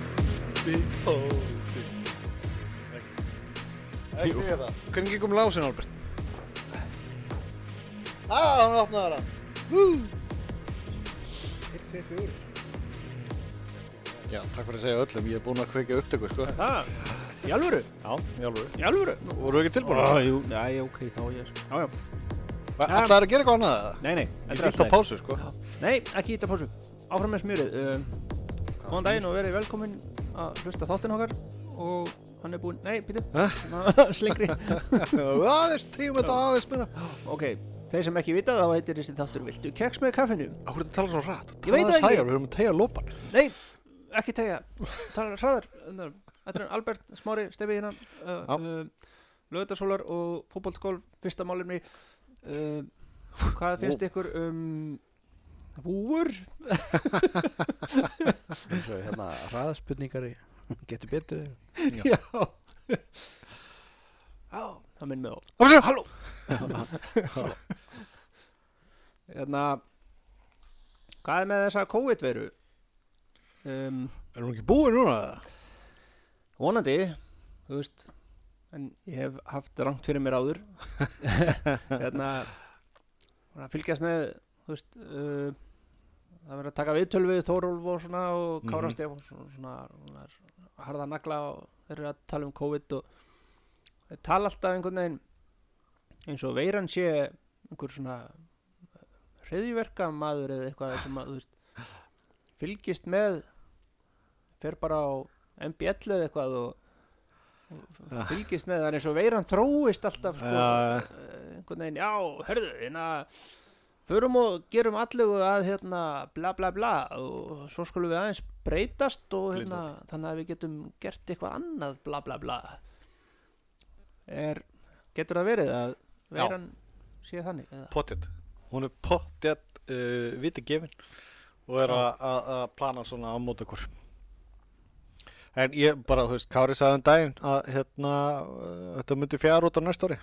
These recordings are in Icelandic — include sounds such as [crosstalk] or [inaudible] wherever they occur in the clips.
Ótti, ótti Ekki Jú. ég það Hvernig gengum lásin, Albert? Ah, hún opnaði það Hú Eitt, tveit, fjóri Já, takk fyrir að segja öllum, ég er búinn að kveika upptöku, sko. Það, í alvöru, Já, í alveg. í alvöru. Voru ekki tilbúin? Ó, Ah, jú, næ, ok, þá ég, sko. Já, já, Alltaf er að gera eitthvað annað eða? nei, nei, Ég þetta er fyllt á allt í lagi. pásu, sko. Nei, ekki ítta pásu. Áfram með smjörið. Um, Góðan daginn og verið velkomin að hlusta á þáttinn okkar og hann er búinn, nei, býtu, Hæ? [laughs] slingri. [laughs] aðeins, tíma þetta aðeins minna. ok, þeir sem ekki vita þá heitir þessi þáttur Viltu keks með kaffinu? Hvað er þetta að tala svona rætt? Ég veit það ekki. Hægar, við höfum að tegja lópan. Nei, ekki tegja, tala hraðar. Þetta er Albert, Smári, Stefi hérna, Já. uh, uh, lögðarsólar og fótboltgólf, fyrsta málumni. Uh, hvað finnst ykkur um búur? eins og hérna hraðspurningari getur betur Já. Já. Já, það minn með á. Halló! Hérna, hvað er með þessa COVID-veru? Um, Erum við ekki búið núna? eða? vonandi, þú veist, en ég hef haft rangt fyrir mér áður. hérna, svona að fylgjast með, þú veist, uh, það verður að taka viðtöl við Þórólf og svona og Kára Mhm. Stefáns og svona, svona, svona harða nagla og þeir eru að tala um COVID og þeir tala alltaf einhvern veginn eins og veiran sé einhver svona hreðjverka maður eða eitthvað sem að, þú veist, fylgist með fer bara á MBL eða eitthvað og, og fylgist með það er eins og veiran þróist alltaf sko, Ah. Já, já. eh, einhvern veginn, já, hörðu, hérna förum og gerum allegu að hérna bla bla bla og svo skulum við aðeins breytast og hérna þannig að við getum gert eitthvað annað bla bla bla er, getur það verið að Já. veiran sé þannig eða? Pottet. Hún er pottet uh, viti gefin og er að- að að plana svona á mót okkur. En ég bara, þú veist, Kári sagði um daginn að hérna, uh, þetta myndi fjara út á næst ári.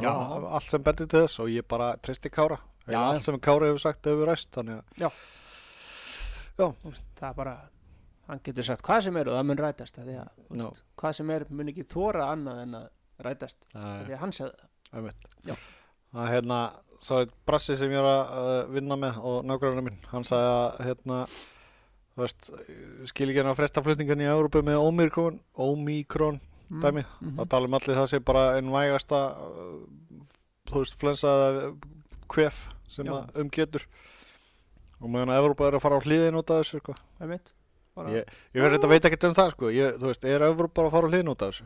Já. Allt sem bendir til þess og ég bara tristi Kára. Já. Allt sem Kári hefur sagt hefur ræst, þannig að Þú veist, það er bara hann getur sagt hvað sem er og það mun rætast af því að, þú No. veist, hvað sem er mun ekki þóra annað en að rætast af Nei. því að hann sagði það Einmitt. Já. Það er hérna, svo er brassi sem ég er að uh, vinna með og nágrunum minn, hann sagði að hérna, þú veist, skil ekki hérna frettaflutningan í Európu með Omikron, Omikron Mm. dæmi, mm Mhm. það talum allir það sé bara einn vægasta, uh, þú veist, flensaða kvef sem Já. að umgetur og meðan að Európa er að fara á hliðin út af þessu, sko. Einmitt. bara, Ég, ég verður þetta veit ekkert um það, sko, ég, þú veist, er Európa að fara á hliðin út af þessu?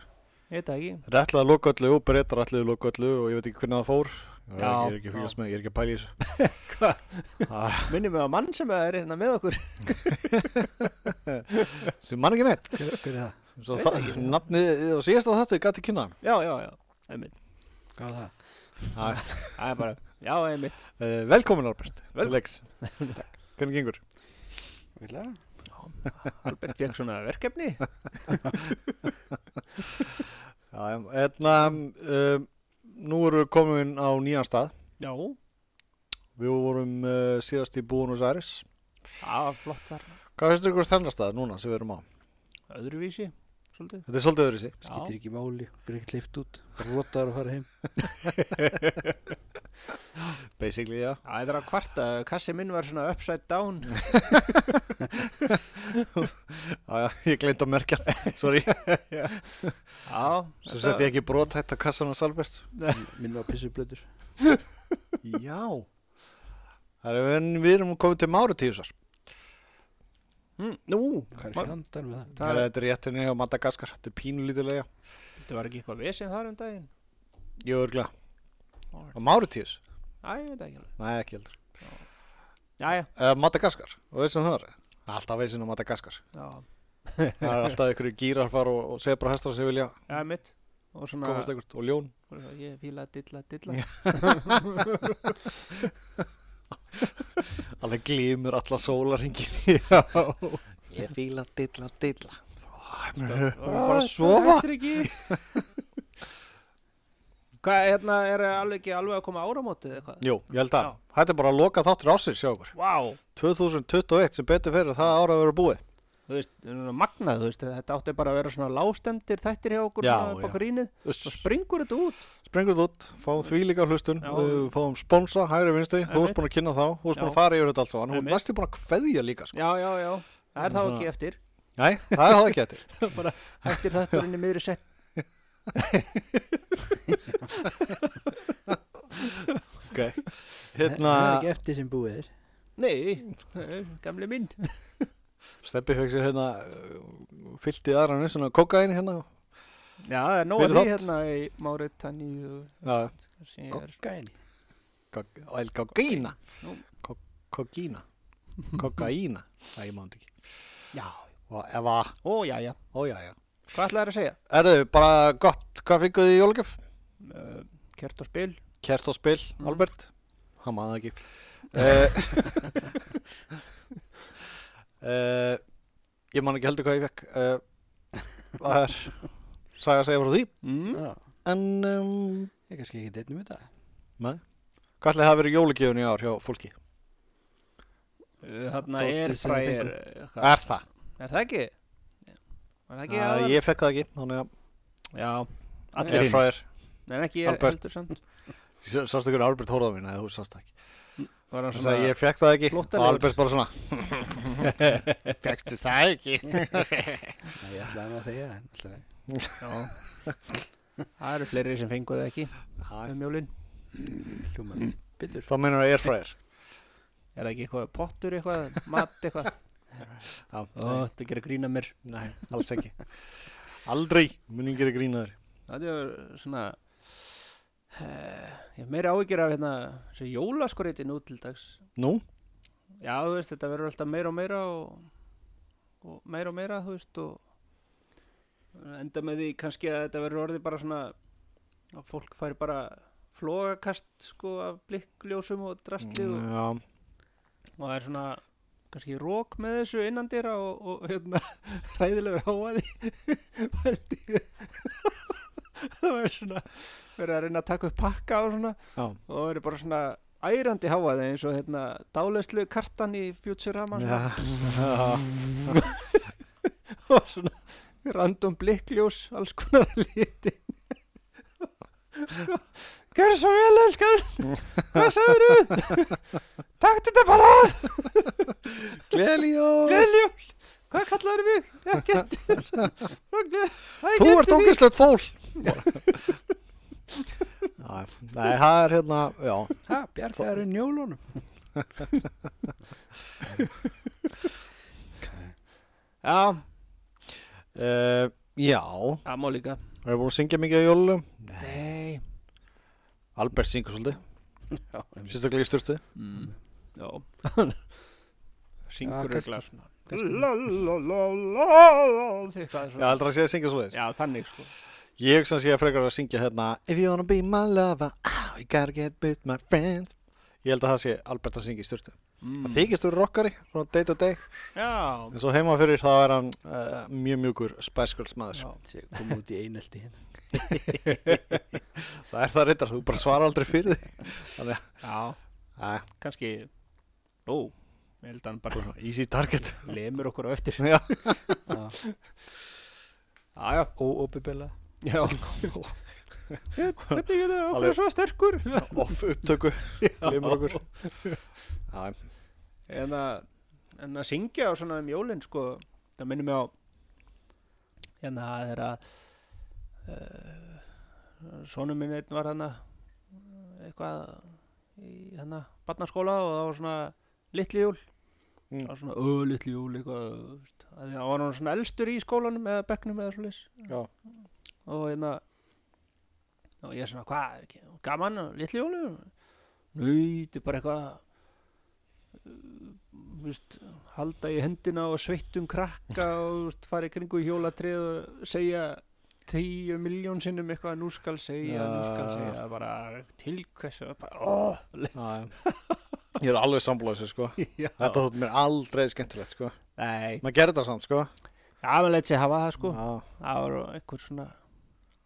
ég veit það ekki Þetta ætlaði að loka öllu og breytar ætlaði að loka öllu og ég veit ekki hvernig það fór. Ég er Já. ekki- ég er ekki að fylgjast með, ég er ekki að pæla í þessu. Hva? Það minnum við að mann sem er hérna með okkur [laughs] sem mann ekki neitt. hver, hver er það? Svo Veit það, ekki. nafnið, og síðast að þetta ég gæti [laughs] kynna. já, já, já, einmitt hvað var það? hann. það er bara, já, einmitt Eh, Velkomin Albert. [laughs] Velkomin. Lex. Hvernig gengur? vilja? Albert fekk svona verkefni Já, em, hérna, um, nú erum við komin á nýjan stað. já, Við vorum uh, síðast í Búinus Æris. það var flott þar Hvað finnst ykkur þennan stað núna sem við erum á? öðruvísi, svolítið Þetta er svolítið öðru sig. skiptir ekki máli, okkur ekki lift út rotar og fara heim Basically, já. Já, Það er að kvarta, kassi minn var svona upside down [laughs] Já, já, ég gleyndi að merkja. hann. [laughs] Sorry. Já, Svo þetta- setti ég ekki brotætt á kassan hans Albert. minn var pissublöður Já Það er en við erum komið til Máritíusar Mm, Nú, hvað er Ma- fjandan með það? Það er það, þetta rétt henni á Madagaskar Þetta er pínulítilega þetta var ekki eitthvað vesinn þar um daginn Jú, örglega Alright. Og Máritíus? Æ, ég veit það ekki alveg Nei, ekki heldur Jæja, uh, Madagaskar, og veist sem það er Alltaf veist sem á Madagaskar já, Það er alltaf ykkur gírarfar og, og sebrahestar sem vilja já, mitt Og svona, komast ekkert og ljón og svo, ég fíla dilla, dilla Alveg glýmur alla sólaringin [laughs] Já Ég fíla dilla, dilla Það er bara að sofa ekki [laughs] Hvað, hérna, er alveg ekki alveg að koma áramótið eða eitthvað? Jú, ég held að Já. Þetta er bara að loka þáttur ásins hjá okkur Vá, 2021 sem betur fyrir það ára að vera búið þú veist, svona magnað, þú veist, þetta átti bara að vera svona lágstemdir þættir hjá okkur Já, svona, já. bakar ínið, svo springur þetta út Sprengur þú út, fáum því líka hlustun, Já. uh, fáum sponsa, hægri vinstri, þú Einmitt. veist búin að kynna þá, þú veist búin Já. að fara yfir þetta alls á hann, hún Einmitt. næstu búin að kveðja líka, sko. já, já, já, það er þá Svona- ekki eftir Nei, það er það ekki eftir. [laughs] bara hættir þetta inn í miðri sett Ok, Hérna... hérna, Það er ekki eftir sem búið er. nei, það er gamli mynd Steppi fekk sér hérna, uh, fyllt í aðra hann, svona kokaini hérna, já, það er nóg að Fyrir því þátt. hérna í Máritanni og já, sem ég er Kokkaini. kok- og el kokaina, Nú. Kok- kokína, kokaína, það ég mándi ekki. já, Og Eva, ó, já, já, ója, já. hvað ætlaði að segja? Erðu, bara gott, hvað fenguðu í jólgjöf? Uh, kert og spil Kert og spil, Mhm. Albert Hann maður ekki uh, [laughs] uh, Eh, Ég man ekki heldur hvað ég fekk uh, Það er Saga að segja frá því mm. Já, En um, ég er kannski ekki deitt um þetta. hvað ætlaði það að vera jólugjöfun í ár hjá fólki? Eh, þarna Dótið er eh, sem við fræðir er Er það? það ekki? er það ekki? Uh, áðan? ég fekk það ekki Þannig að já, ég allir er frá þér Nei, ekki ég Albert. heldur samt Sást ekki hvernig Albert hóraða mín eða þú sást það ekki Var hann Hann svona, sagði ég fekk það ekki og flóttalegur. Albert bara svona [laughs] Fekkstu það ekki Nei, ég ætlaði nú að segja, en ætlaði. já Það eru fleiri sem fengu það ekki Æ, um jólin Hljómar. Bitur. Þá minnur það ég er frá þér Er það ekki eitthvað pottur eitthvað, mat eitthvað [laughs] Já, Ó, þetta gerir grína mér Nei, alls ekki Aldrei mun ég gera grínaður Það er svona eh, Ég hef meiri áhyggjur af hérna þessu jólaskoríti nú til dags Nú, Já, þú veist, þetta verður alltaf meira og meira og, og meira og meira, þú veist og enda með því kannski að þetta verður orðið bara svona að fólk fær bara flogakast sko af blikkljósum og drastli og, Mm, já, og það er svona kannski rók með þessu innandýra og, og hérna [laughs] hræðilegur háaði pældi ég. [laughs] það var svona verið að reyna að taka upp pakka og svona já, og það verið bara svona ærandi háaði eins og hérna dálæslu kartan í Futurama já, [laughs] ja. [laughs] og svona random blikkljós alls konar [laughs] að liti gerð svo vel elskar hvað sagður þú takk þetta bara Gleðiljó Gleðiljól Hvað kallaður mig? Ekkert Bara gleð- Æ, Þú gleymdi ert því. ógæslegt fól Nei, nei, það er hérna, já Ha, bjargaður í njólunum. Já, uh, Já, það má líka það er búin að syngja mikið á jólum Nei Albert syngur svolítið, Já, sérstaklega í styrtu mm. Já Já, Syngur kannski. regla svona Kannski. La la la la la Þið hvað er Já, svona aldrei að sé að syngja svolítið Já, þannig sko Ég sem sé að frekar að syngja hérna If you wanna be my lover, ah, you gotta get with my friends Ég held að það sé Albert að syngja í styrtu Mm. Það þykist þú rockari, svona day to day Já, En svo heima fyrir þá er hann uh, mjög mjúkur Spice Girls maður. já. Sé, kom út í einelti hérna. Það er það reyndar, þú bara svarar aldrei fyrir [laughs] þig. Ah, Þannig já að, að, kannski Ó, ég held að hann bara easy target. [laughs] lemur okkur á eftir Já, Já, já, Óopibela. [laughs] já Hvernig getur okkur Alveg. svo sterkur? off upptöku, lemur okkur. Já, en að, en að syngja á svona um jólin sko, það minnir mig á en að það er að uh, sonu minn einn var hana eitthvað í hana barnaskóla og það var svona litli jól Mm. það var svona ö, litli jól eitthvað þú veist. Af því að það var hann svona elstur í skólanum eða bekknum eða svoleiðis já, og hérna og ég svona, hvað, er ekki gaman, litli jólu nei, þetta er bara eitthvað uh, þú veist, halda í hendina og sveittum krakka og þú veist, fara í kringu hjólatrið og segja tíu miljón sinnum eitthvað nú skal segja, nú skal Já. segja það er bara tilkvæsja bara, oh, já. Ég er alveg samblóðis, sko. [laughs] já, Þetta þótt mér aldrei skemmtilegt, sko. nei, Maður gerir þetta samt, sko. já, maður leitt sér hafa það sko Já, það var einhver svona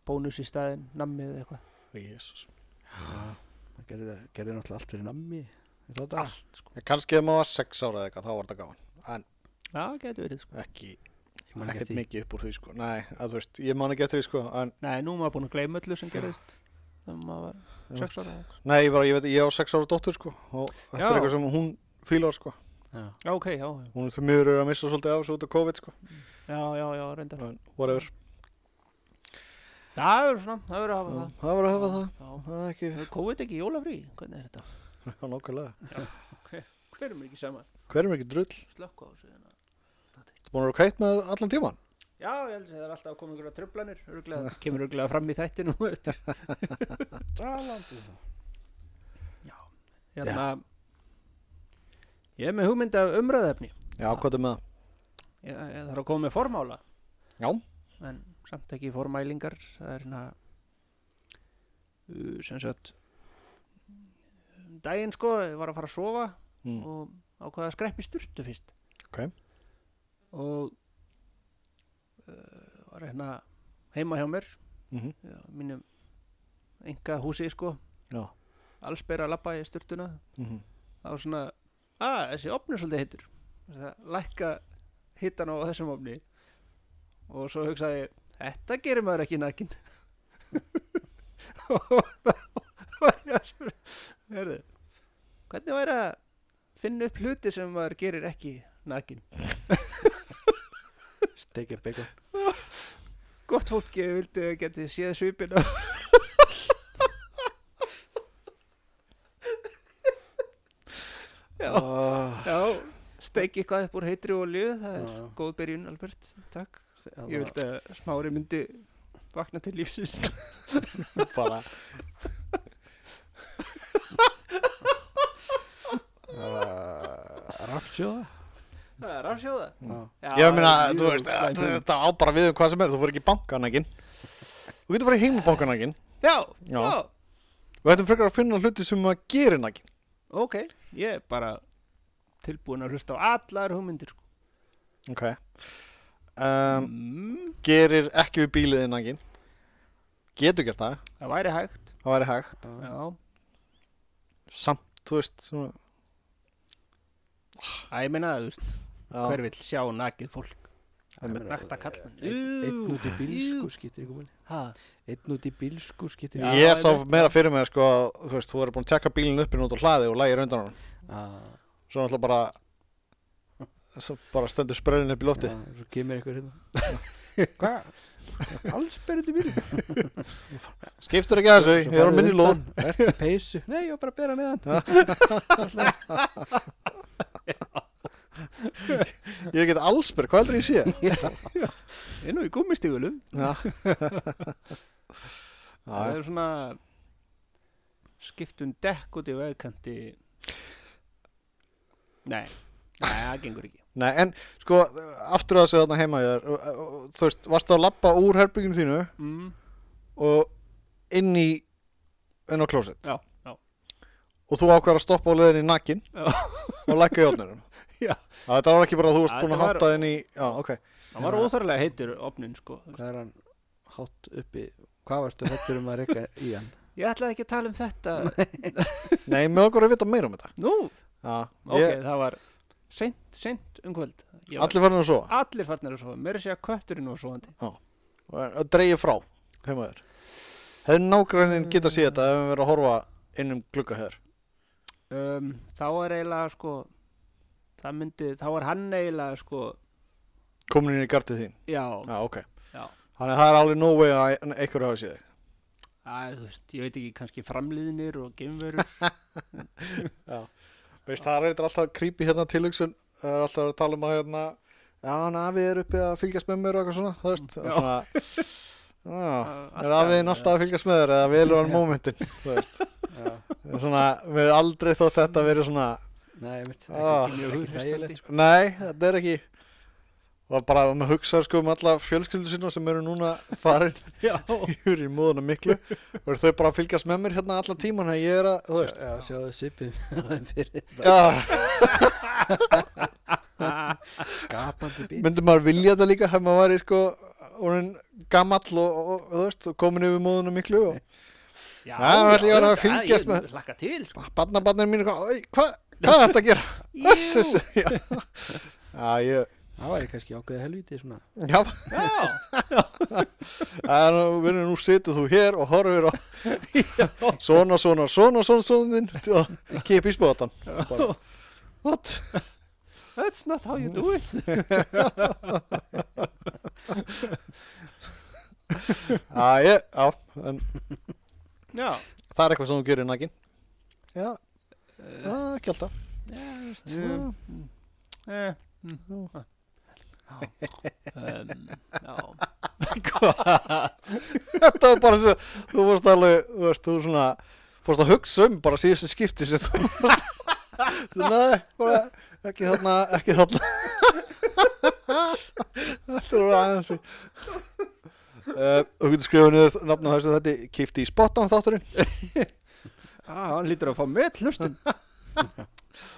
bónus í staðinn, nammið eða eitthvað jésus. Það gerði það- gerði náttúrulega allt fyrir nammi. í þá daga. allt sko, Kannski ef maður var sex ára eða eitthvað, þá var þetta gáðan. Já, getur verið sko. ekki, Ég man ekkert ekki mikið. mikið upp úr því sko Nei, að þú veist, ég man ekki eftir því sko en, Nei, nú er maður búin að gleyma öllu sem gerðist þegar maður var 6 ára eða eitthvað. Nei, ég, bara, ég veit, ég á sex ára dóttur sko og þetta Já. er eitthvað sem hún fílar sko Já. Já, ok, já, já. Hún er því miður er að missa svolítið af þessu út af COVID sko já, já, já, reyndar en, Whatever, Það verður svona, það verður að hafa það það var að hafa það það Það er ekki, Já, COVID ekki í jólafrí, hvernig er þetta? já, nákvæmlega Hver er mér ekki saman? Hver er mikið drull? Slökku á þessu hérna. Þú búin að vera kætt með allan tíman? Já, ég held að það er alltaf að koma ykkur að tröflanir örglega, kemur örglega fram í þættinu þú [laughs] veist. Það landið það. hérna, Ég er með hugmynd af umræðefni Já, hvað er með það? ég, ég þarf að koma með formála Já, en samt ekki formælingar það er hérna uh, sem sagt um daginn sko, ég var að fara að sofa mm. og ákvaða að skreppi sturtu fyrst Ok. og uh, var hérna heima hjá mér Mhm. já, mínum enga húsi sko já alls bera að labba í sturtuna mhm. það var svona, að ah, þessi opn er svolítið heitur það lækka hittan á þessum opni og svo hugsaði ég, þetta gerir maður ekki nakin [laughs] og það var ég að spyrja herðu, hvernig væri að finna upp hluti sem maður gerir ekki nakin Steikja bacon. gott fólk ég vildi að geti séð svipin á [laughs] já Ah, Já, steik eitthvað upp úr heitri olju, það er Já, já. góð byrjun Albert, takk. Ég Já, það- vildi að smári myndi vakna til [laughs] lífsins. Bara Uh, Rafsjóða? Það er rafsjóða. Já. Já, Ég meina, jú, þú veist, slæm þetta hugmynd. þetta á bara við um hvað sem er, þú fyrir ekki í bankanækin Þú getur farið heim í bankanækin Já, Já. já, Við ættum frekar að finna hluti sem maður gerir nækin ok, ég er bara tilbúin að hlusta á allar hugmyndir. sko. Ok um, Mm, Gerir ekki við bíliði nækin Getur gert það, það væri hægt, það væri hægt já. Samt, þú veist, svona Æ, ég meina það, þú veist, já, hver vill sjá nakið fólk? einmitt. Nakta kallmenn. Einn einn út í Jú. bílsku skiptir ekki máli. Ha, Einn út í bílsku skiptir Já, ekki Ég sá einmitt. meira fyrir mig, sko, að, þú veist, þú verður búin að tekka bílinn upp inn út á hlaði og lægir undan hann máli. Svo náttúrulega bara svo bara stendur spröðin upp í lofti Já, Svo kemur einhver hérna. Hvað? Alls berur til bílinn. Skiptur ekki að þessu, ég Svo er á farðu minni lóð undan, Ertu í peysu? Nei, ég var bara að bera með hann. Ég get allsbyr, hvað heldur ég sé? [laughs] ég er nú í gúmmistígulum. Já. Það Já, er svona skiptum dekk út í vegkanti Nei, nei, það gengur ekki nei, en sko, aftur að þessu þarna heima ég þar, þú veist, varstu að labba úr herbygginu þínu mm. og inn í, inn á klósett Já, já, og þú ákveðar að stoppa á leiðinni nakkin Já. [laughs] og lækka í opnunum. Já. Þetta var ekki bara að þú varst Já, búin að þetta var- hátta inn í, já, ok. það var óþarlega heitur opnin sko þú veist. Hvað er hann hátt uppi? Hvað varstu hættur um að reyka í hann? Ég ætlaði ekki að tala um [laughs] þetta Nei, mér okkur að vita meira um þetta. Nú, Já, ok, ég, það var seint, seint um kvöld Ég var, allir farin að sofa allir farnir að sofa, mér sé að kötturinn var sofandi og að dreigja frá heima þér. Hefur nágrannin geta séð þetta ef við verið að horfa inn um glugga hér. um, Þá er eiginlega sko það myndi, þá er hann eiginlega sko Komin inn í gardið þín. Já, Já, ok. já Þannig að það er alveg no way að einhverju hafa séð þig. Æ, þú veist, ég veit ekki, kannski framliðinir og geimverur Veist, það er eitthvað alltaf creepy hérna tilhugsun. Það er alltaf að tala um að hérna, já, hann afið er uppið að fylgjast með mér og eitthvað svona, þú veist. Já. Svona, já, Alltaf- er afiðin alltaf að fylgjast með þér eða velur hann Já. mómentin, þú veist. Já. Það er Svona, mér er aldrei þótt þetta verið svona, Nei, ég mitt. Ah. Ekki mjög hughristandi. nei, þetta er ekki. Og bara að maður hugsa sko um alla fjölskyldu sína sem eru núna farin [laughs] Já, yfir í móðuna miklu og eru þau bara að fylgjast með mér hérna alla tíman að ég er að, þú veist, Já, sjáðu svipin á þeim fyrir já, skapandi bíl. myndi maður vilja þetta líka hef maður væri sko orðin gamall og, og, og þú veist og komin yfir móðuna miklu og Já, Það var allir að vera að auðvitað, fylgjast ég með. Hlakka til, [laughs] sko. barnabarnir mín hvað hva, hva er þetta að gera? Öss, öss, já. Já, ég, það væri kannski ákveðið helviti svona Já, en vinnur nú situr þú hér og horfir á svona, svona, svona, svona, svona þinn og kipi í spotan. Bara, What? That's not how you do it Ah, ég, já, en Já, það er eitthvað sem þú gerir nægin. Já, uh, uh, ekki alltaf. já þú veist, Já. Já. eh, mm, ah. Já, um, já. Hvað? Þetta var bara svo, þú vorst alveg, þú veist, þú svona, fórst að hugsa um bara síðustu skipti sem þú vorst, nei, bara, ekki þarna, ekki þarna. Þetta var aðeins í. Uh, þú getur skrifað niður nafnum þessu þetta, kipti í spottan þátturinn, Ah, hann lítur að fá með hlustun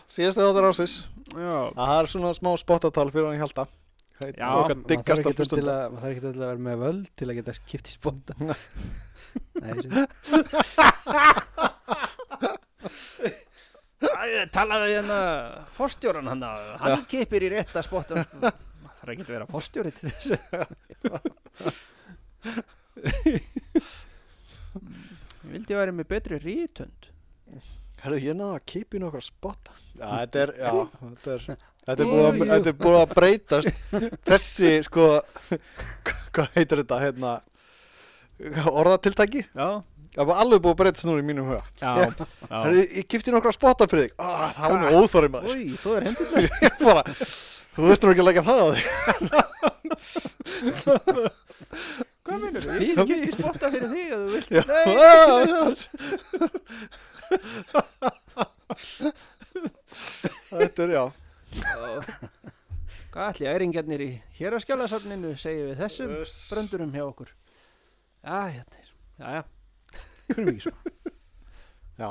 síðustu þáttur ásins. Já, Það er svona smá spottatal fyrir hann í halda. Já, okkar maður þarf diggasta ekki til hlustanda. að- maður þarf ekki til að vera með völd til að geta skipt í spotta [laughs] Nei, þessi- Æ, talaðu við hérna forstjóran hann að hann kipir í rétta spottum sko. maður þarf ekki að vera forstjóri til þessu ég vildi að vera með betri rítönd Herðu, ég náðu að kipi nokkra spotta. Já, þetta er, já, þetta er, þetta er búið að, þetta er búið að breytast. Þessi, sko, [laughs] hvað heitir þetta, hérna, orðatiltæki? já, Það var alveg búið að breytast núna í mínum huga. já, já. Herðu, ég kipti nokkra spotta fyrir þig. Ah, það var nú óþorri maður. Új, þú er hendur Ég bara, þú veist nú ekki að leggja það á þig. hvað minnur, ég kipti spotta fyrir þig og þú Já. vilt [laughs] nei, Ah, já. [laughs] Þetta er, já. hvað ætli æringjarnir í héraskjálasafninu segjum við þessum bröndurum hjá okkur já, hérna er, já, já, kunnum ekki svona Já.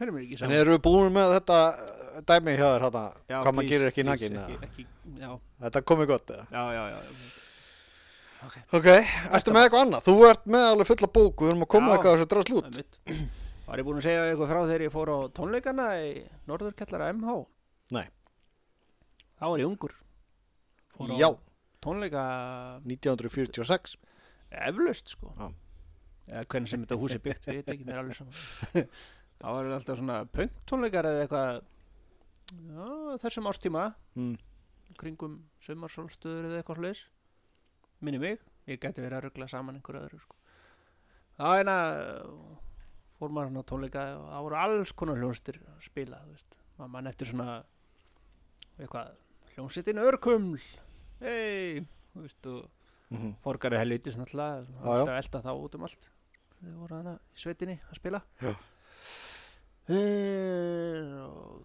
hvernig er ekki En saman eru við búin með þetta uh, dæmi hjá þér hérna, Já, hvað maður please, gerir ekki please, nakin eða? ekki, ekki, já, Þetta komið gott eða? já, já, já, já. Ok, ertu með eitthvað annað? Þú ert með alveg fulla bóku, við erum að koma Já. eitthvað þessu drasl út. Einmitt. Var ég búinn að segja ykkur frá þegar ég fór á tónleikana í Norðurkjallara MH? Nei. Þá var ég ungur. Fór á Já, tónleika 1946. eflaust sko. Já. Eða hvernig sem þetta hús er byggt, við ekki mér alveg saman. [laughs] Þá var þetta alltaf svona pöngtónleikar eða eitthvað já, á þessum ástíma, Mm. kringum sumarsólstöður eða eitthvað slags. Minni mig, ég gæti verið að ruggla saman einhverju öðru sko. Það er hérna fór maður svona á tónleika og það voru alls konar hljónstir að spila, þú veist. Maður mann eftir svona eitthvað, hljónsitin örkuml, hei, þú veist, og Mhm. forgari helvitis náttúrulega Já, já. það er elda þá út um allt þau voru hana í sveitinni að spila Já. Eh, og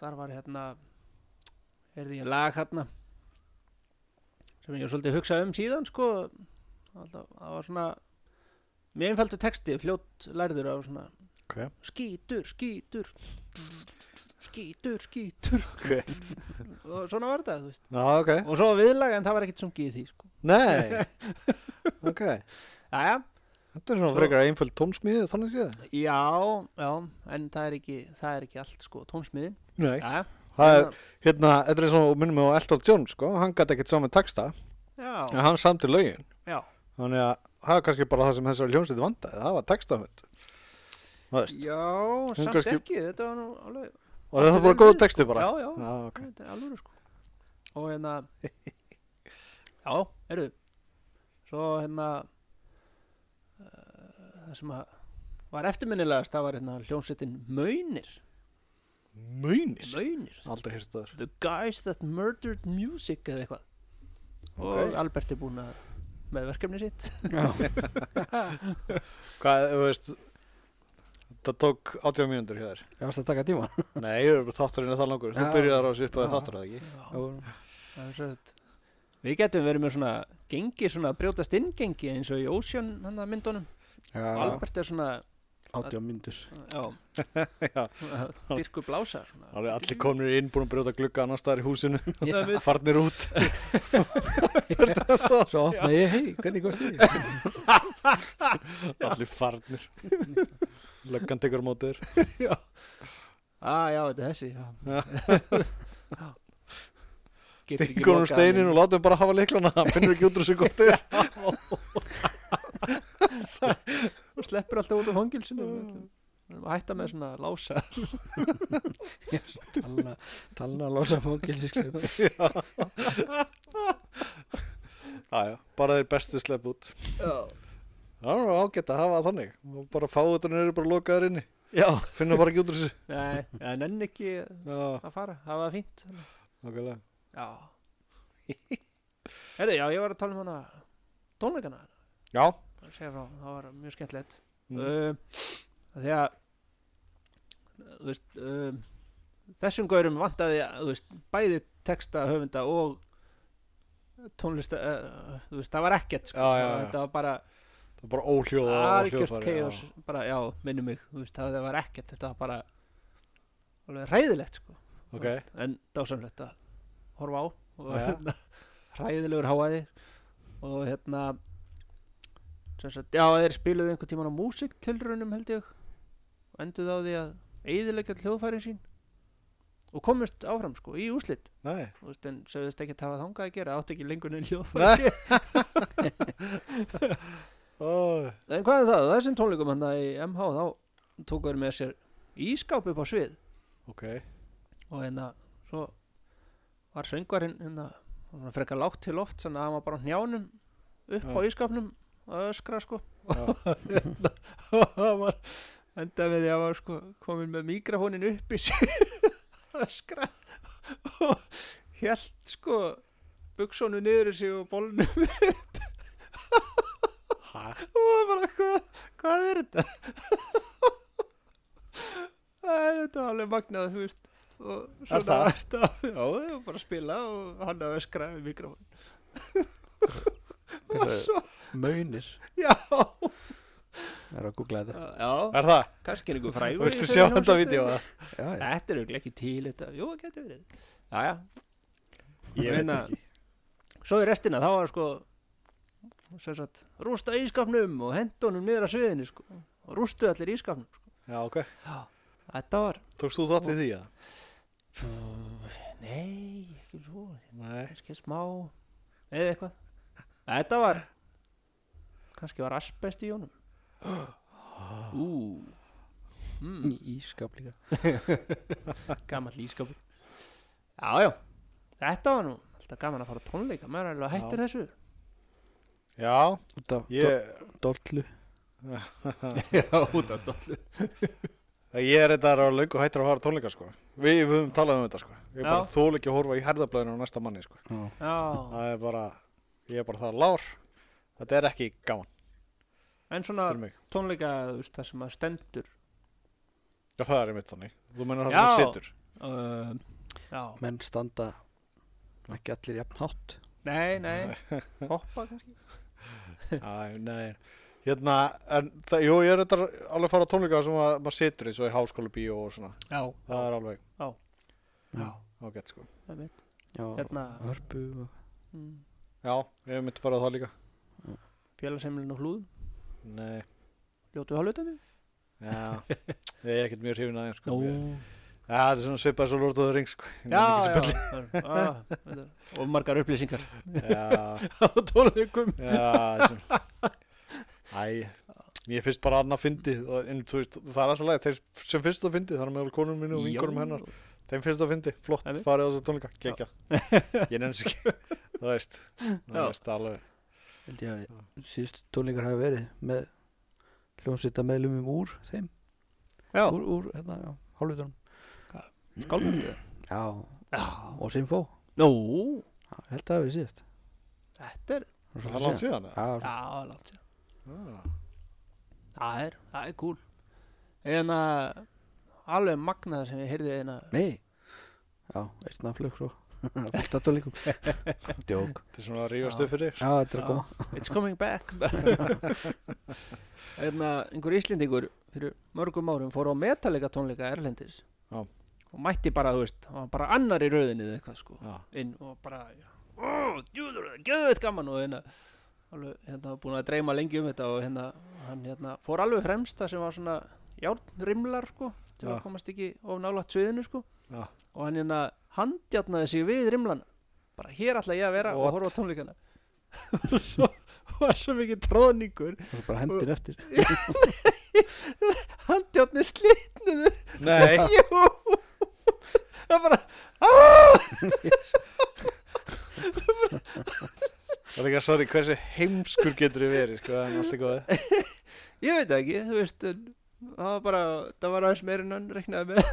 þar var hérna er ég lag hérna sem ég hef svolítið hugsað um síðan sko Alltaf, það var svona mjög einfaldu texti fljótt lærður af svona Ok. skítur, skítur skítur, skítur Ok. og svona var þetta þú veist. Já, [laughs] ok. og svo viðlag en það var ekkert sungið í því sko. [laughs] Nei, ok. Jæja, Þetta er svona frekar einföld tónsmíði þannig séð. Já, já, en það er ekki, það er ekki allt sko, tónsmiðin Nei, Já, það er, hérna, þetta er eins og minnum við á Elton John, sko, hann gæti ekkert saman texta, en já, hann samti lögin. já, Þannig að það er kannski bara það sem þessari hljómsveit vandaði, það var textafönd. Það veist, já, samt kannski- ekki, þetta var nú alveg og það er átti bara vel góð við, texti bara. Já, já, Já, ok. þetta er alveg sko Og hérna, [laughs] já, eru Svo hérna, uh, það sem að var eftirminnilegast, það var hérna hljómsveitin Mönir Mönir? Mönir, Aldrei hérst það. The Guys That Murdered Music eða eitthvað Ok. Og Albert er búinn að með verkefni sitt Hvað, þú veist, það tók 80 mínútur hjá þér. ég varst að taka tíma Nei, ég er bara þátturinn er það langur. Þú Já. byrjar á þessu upp að Já. þáttur, eða ekki? Já. Það er svolítið. Við getum verið með svona gengi, svona brjótast inn gengi eins og í Ocean hann að myndunum. já, Albert er svona, átjá myndur já, [laughs] Já. dyrku blása svona. Alveg allir komnir inn, búin að brjóta glugga annar staðar í húsinu, Það [laughs] við- farnir [laughs] út. svo opnaði ég, hei, hvernig komst þið allir [laughs] farnir. Löggan tekur á móti þér. Á, [laughs] já, þetta er þessi, já. Já. getur ekki stingur um lokað steinin hann og látum bara hafa leiklana hann finnur ekki út úr sig gott [laughs] þér inn og sleppur alltaf út af fangilsinu hætta með svona lása Talna, talna að losa fókilsiskleif Aja, bara þeir bestu slepp út já, það er ágætt að hafa það þannig Og bara fáutunir eru bara lokaður inni [laughs] já. finna bara ekki út úr sig Nei, það nenni ekki já, að fara, það var fínt nákvæmlega Já Herri, já, ég var að tala um hana tónleikana, já, að segja frá það var mjög skemmtilegt Mm. mm. uh, Því að þú veist um, þessum gaurum vantaði að, þú veist, bæði texta höfunda og tónlista uh, þú veist, það var ekkert sko, Já, já, það- já. þetta var bara það er bara óhljóða og algjört hljóðfæri, já. chaos bara, já, minni mig, þú veist, það, það var ekkert þetta var bara alveg hræðilegt sko ok, en dásamlegt að horfa á og Já. hérna hræðilegur háaði og hérna sem sagt, já þeir spiluðu einhvern tíman á músiktilraunum held ég og enduðu á því að eiðilegja hljóðfæri sín og komust áfram sko í úslit nei Þú veist, en sögðust ekki að hafa þangað að gera átt ekki lengur neinn hljóðfæri nei [laughs] Ó, en hvað er það, þessum tónleikum hann í MH þá tóku þeir með sér ískáp upp á svið ok, og hérna svo var söngvarinn hérna, hann var frekar lágt til loft þannig að hann var bara á hnjánum upp Já. á ískapnum að öskra sko Já. og [laughs] hérna, og hann var endaði með því að hann var sko komin með mikrofónin upp í sig [laughs] að öskra og hélt sko buksónu niður í sig og bólnum hæ og var bara hvað, hvað er þetta Æ, þetta var alveg magnað þú veist og Er það? var þetta já, ég var bara að spila og hann að öskra við mikrofón og svo, Mönir já Það er að googla þetta já, er það, kannski er einhver frægur í viltu þessari sjá þetta hljómsveit. vídeo eða? Já, já. þetta er auðvitað ekki til þetta jú, það getur verið já, já, ég veit Meina- ekki svo í restina þá var sko sem sagt, rústa ískapnum og hendunum niður að sviðinu sko og rústu allir ískapnum sko. já, ok, þetta var tókst þú þátt í því eða? Nei, ekki svo, nei, kannski smá eða eitthvað Þetta var kannski var asbest í jónum Ú mm, Í ískap líka Gammal lískapur Já, já, þetta var nú alltaf gaman að fara á tónleika, maður er alveg hættur Já. þessu já, Út af yeah. ég dollu [laughs] Já, út af dollu Ég er þetta á löngu hættur að fara á tónleika sko. Við við höfum talað um þetta sko. Ég er bara Já. þól ekki að horfa í herðablaðinu á næsta manni sko. Já, Já, Það er bara, ég er bara það lár Þetta er ekki gaman en svona fyrir mig tónleika, þú veist, það sem að stendur Já það er einmitt þannig, þú meinar það Já. sem það situr uh, Já, menn standa ekki allir jafn hátt nei, [laughs] nei Hoppa kannski Æ, nei Hérna, en það, jú, ég er þetta alveg að fara á tónleika sem að maður situr eins og í háskóla bíó og svona Já, Það er alveg Já, ágætt sko það er mitt já Hérna, Hörpu og mm, Já, ég hef myndi farað það líka félagseimlinn og hlúðum Nei, Ljótu hálfutandi? já, ég er ekkert mjög hrifin aðeins sko Já, þetta er svona svipað svo lort og það ring sko Ég nenni ekki Já, að já, já, já, þetta er of margar upplýsingar spilla- Já, á tónleikum Já, þessum Æ, ég finnst bara annað fyndið og- en þú veist, það er alltaf leið þeir sem finnst það fyndið, það er meðal konum mínu og vingurum hennar þeim finnst það fyndið, flott, Æmi. farið á þessu tónleika kekja, ég nefnst ekki [laughs] þú veist, þú Já. veist alveg held ég að síðustu tónleikar hafa verið með hljómsvita meðlumum úr þeim Já, úr, úr hérna, já, hálfutunum skálmöndu já, Já, og Sinfó nú, Já, ég held að það hafi verið síðast þetta er, það er langt síðan eða? já, já, langt sér Já. Það er, það er cool En að alveg magnað sem ég heyrði hérna eina nei já, eitt nafnflug [laughs] svo fullt að tónleikum [laughs] djók þetta er svona að rífast Já. upp fyrir sko. já, þetta er að koma It's coming [laughs] back En að einhver Íslendingur fyrir mörgum árum fór á metalika tónleika Erlendis Já. og mætti bara, þú veist, hann var bara annar í rauðinni eða eitthvað sko Já. inn og bara ó, djúður, gjöðuð gaman og hérna alveg, hérna, búin að dreyma lengi um þetta og hérna, hann hérna, fór alveg fremst það sem var svona járnrimlar sko, til Já. að komast ekki of nálaðt sviðinu sko Já. og hann hérna handjarnaði sig við rimlana bara hér ætla ég að vera What? og horfa á tónleikana [laughs] og svo var svo mikið tróðningur það er bara hendin eftir handjárni slitnuðu [laughs] Nei, [laughs] jú það er bara aaaah það er ekki að sorry hversu heimskur getur þið verið sko, en allt er góð ég veit það ekki, þú veist en það var bara, það var aðeins meir en hann reiknaði með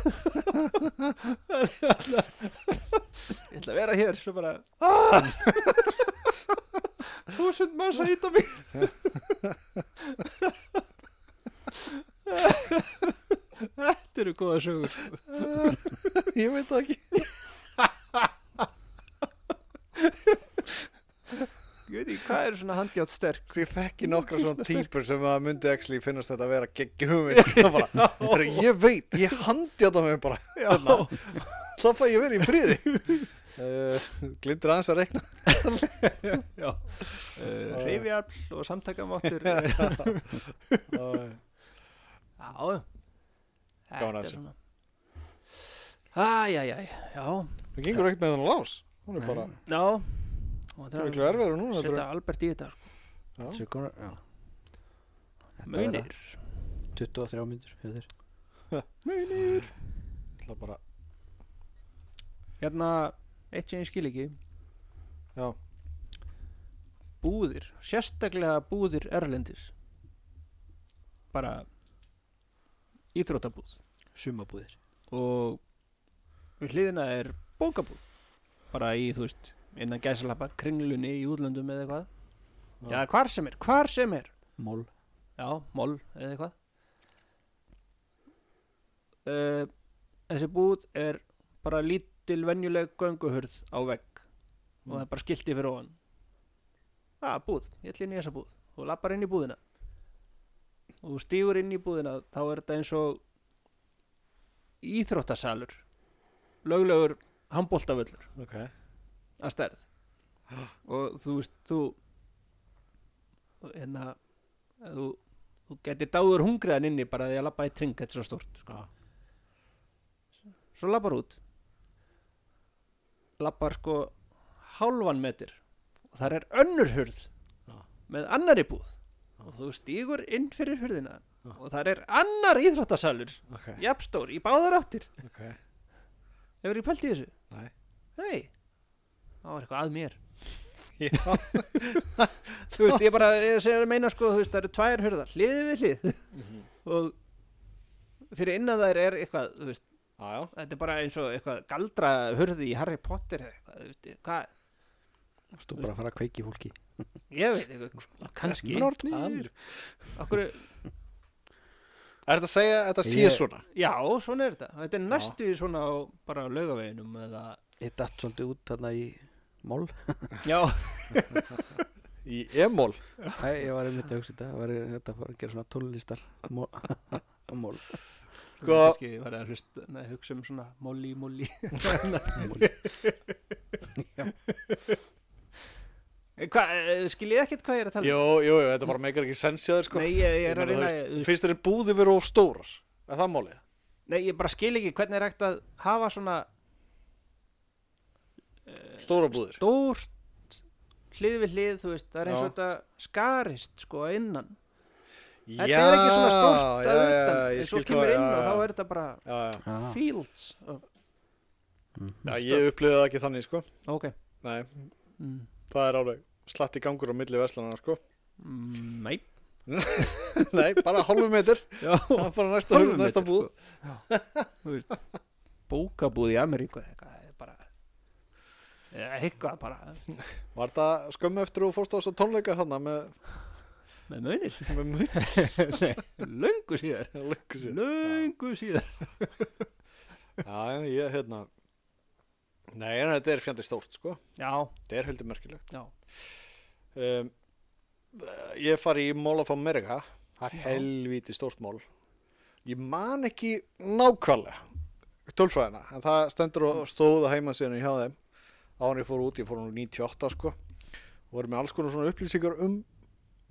ég ætla ég ætla að vera hér svo bara "Ah!" þúsund manns að hýta mig þetta eru góða sögur [laughs] Ég veit það ekki ég veit ekki hvað er svona handjátt sterk Því Sko, ég þekki nokkra [laughs] svona típur sem að myndi actually finnast þetta að vera [laughs] geggjum Ég veit, ég handi á það með bara Hérna. já, þá fæ ég verið í [laughs] friði uh, Glindur aðeins að [laughs] rekna já. Uh, reyfiarl og samtakamáttur já, Já, já. já. Gaman að þetta er þessu. svona æjæjæj, já Það gengur ekkert með hann lás Hún er Nei. bara, Já Og það er miklu erfiður núna heldur Setta en- Albert í þetta sko. Já. Sjö konar, já. Þetta verða Munir 23 myndur hjá þér Munir Það er bara, Hérna, eitt sem ég skil ekki já Búðir, sérstaklega búðir erlendis Bara Íþrótabúð sumabúðir Og Við hliðina er bókabúð Bara í, þú veist, innan gæsalappa Kringlunni í útlöndum eða eitthvað Já. Já, hvar sem er, hvar sem er mól Já, mól eða eitthvað uh, Þessi búð er bara lítil venjuleg gönguhurð á vegg og það er bara skilti fyrir ofan Ah, búð, ég ætla inn í þessa búð og lappar inn í búðina og þú stígur inn í búðina þá er þetta eins og íþróttasalur löglegur handbóltavöllur Ok að stærð og þú veist þú hérna ef þú, þú getur dáður hungriðan inni bara því að labba í tring, þetta er svo stort sko. Já. svo labbar út labbar sko hálfan metir og þar er önnur hurð Já. með annari búð Já. og þú stígur inn fyrir hurðina Já. og þar er annar íþróttasalur Ok, jafnstór í báðar áttir ok hefur ég pælt í þessu? [laughs] Nei. Nei, það var eitthvað að mér Já, þú veist, [laughs] ég bara ég segir að meina sko, þú veist, það eru tvær hurðar hlið við hlið Mhm. og fyrir innan þær er eitthvað, þú veist, já, já þetta er bara eins og eitthvað galdra hurði í Harry Potter eða eitthvað, þú veist, hvað, stú bara að fara að kveiki í fólki ég veit eitthvað, kannski, nortnir Hann- okkur, Er þetta að segja að þetta sé Ég- svona? já, svona er þetta þetta er næstu í svona á bara laugaveginum eða, ég datt svolítið út þarna í mól já, [laughs] Í emól? Æ, ég var einmitt að hugsa þetta það var þetta að fara að gera svona tónlistar mól [laughs] á mól Sko- kannski var að hlust, nei, hugsa um svona molli, [laughs] molli hvað, eh, skiljið ekkert hvað ég er að tala um? Jú, jú, jú, þetta bara meikar ekki sensjaður sko nei, ég, ég er að meina, reyna, þú þú veist, veist, Eh, Finnst þér búðið verið of stórar? Er það málið? Nei, ég bara skil ekki hvernig er hægt að hafa svona Stóra búðir? stórt hlið við hlið, þú veist, það er eins og Já. þetta skarist sko að innan. Þetta Já, er ekki svona stórt já, að já, utan, já, ég eins og skil þú kemur hvað- inn já, og já. þá er þetta bara Já, já, Ah, fields. Of, já, ég upplýði það ekki þannig sko ok. Nei, Mm. það er alveg slatti gangur á milli verslanar sko [laughs] Mm, Nei. Nei, bara hálfu metur [laughs] Já, Það er bara næsta, hurð, næsta búð Sko. Já, þú veist, bókabúð í Ameríku eða eitthvað, það er bara, eða eitthvað bara, Var það skömmu eftir þú fórst á þess að tónleika hana með, með munir. [laughs] með mjög Nei, löngu síðar. löngu sér Löngu síðar. Já, ég, hérna Nei, en þetta er fjandi stórt sko Já, Þetta er heldur merkilegt já. um, Ég fari í Mall of America Það er Já. helvíti stórt mál Ég man ekki nákvæmlega tölfræðina en það stendur og stóða heima síðan hjá þeim á hann ég fór út, ég fór hann 98 sko og voru með alls konar svona upplýsingar um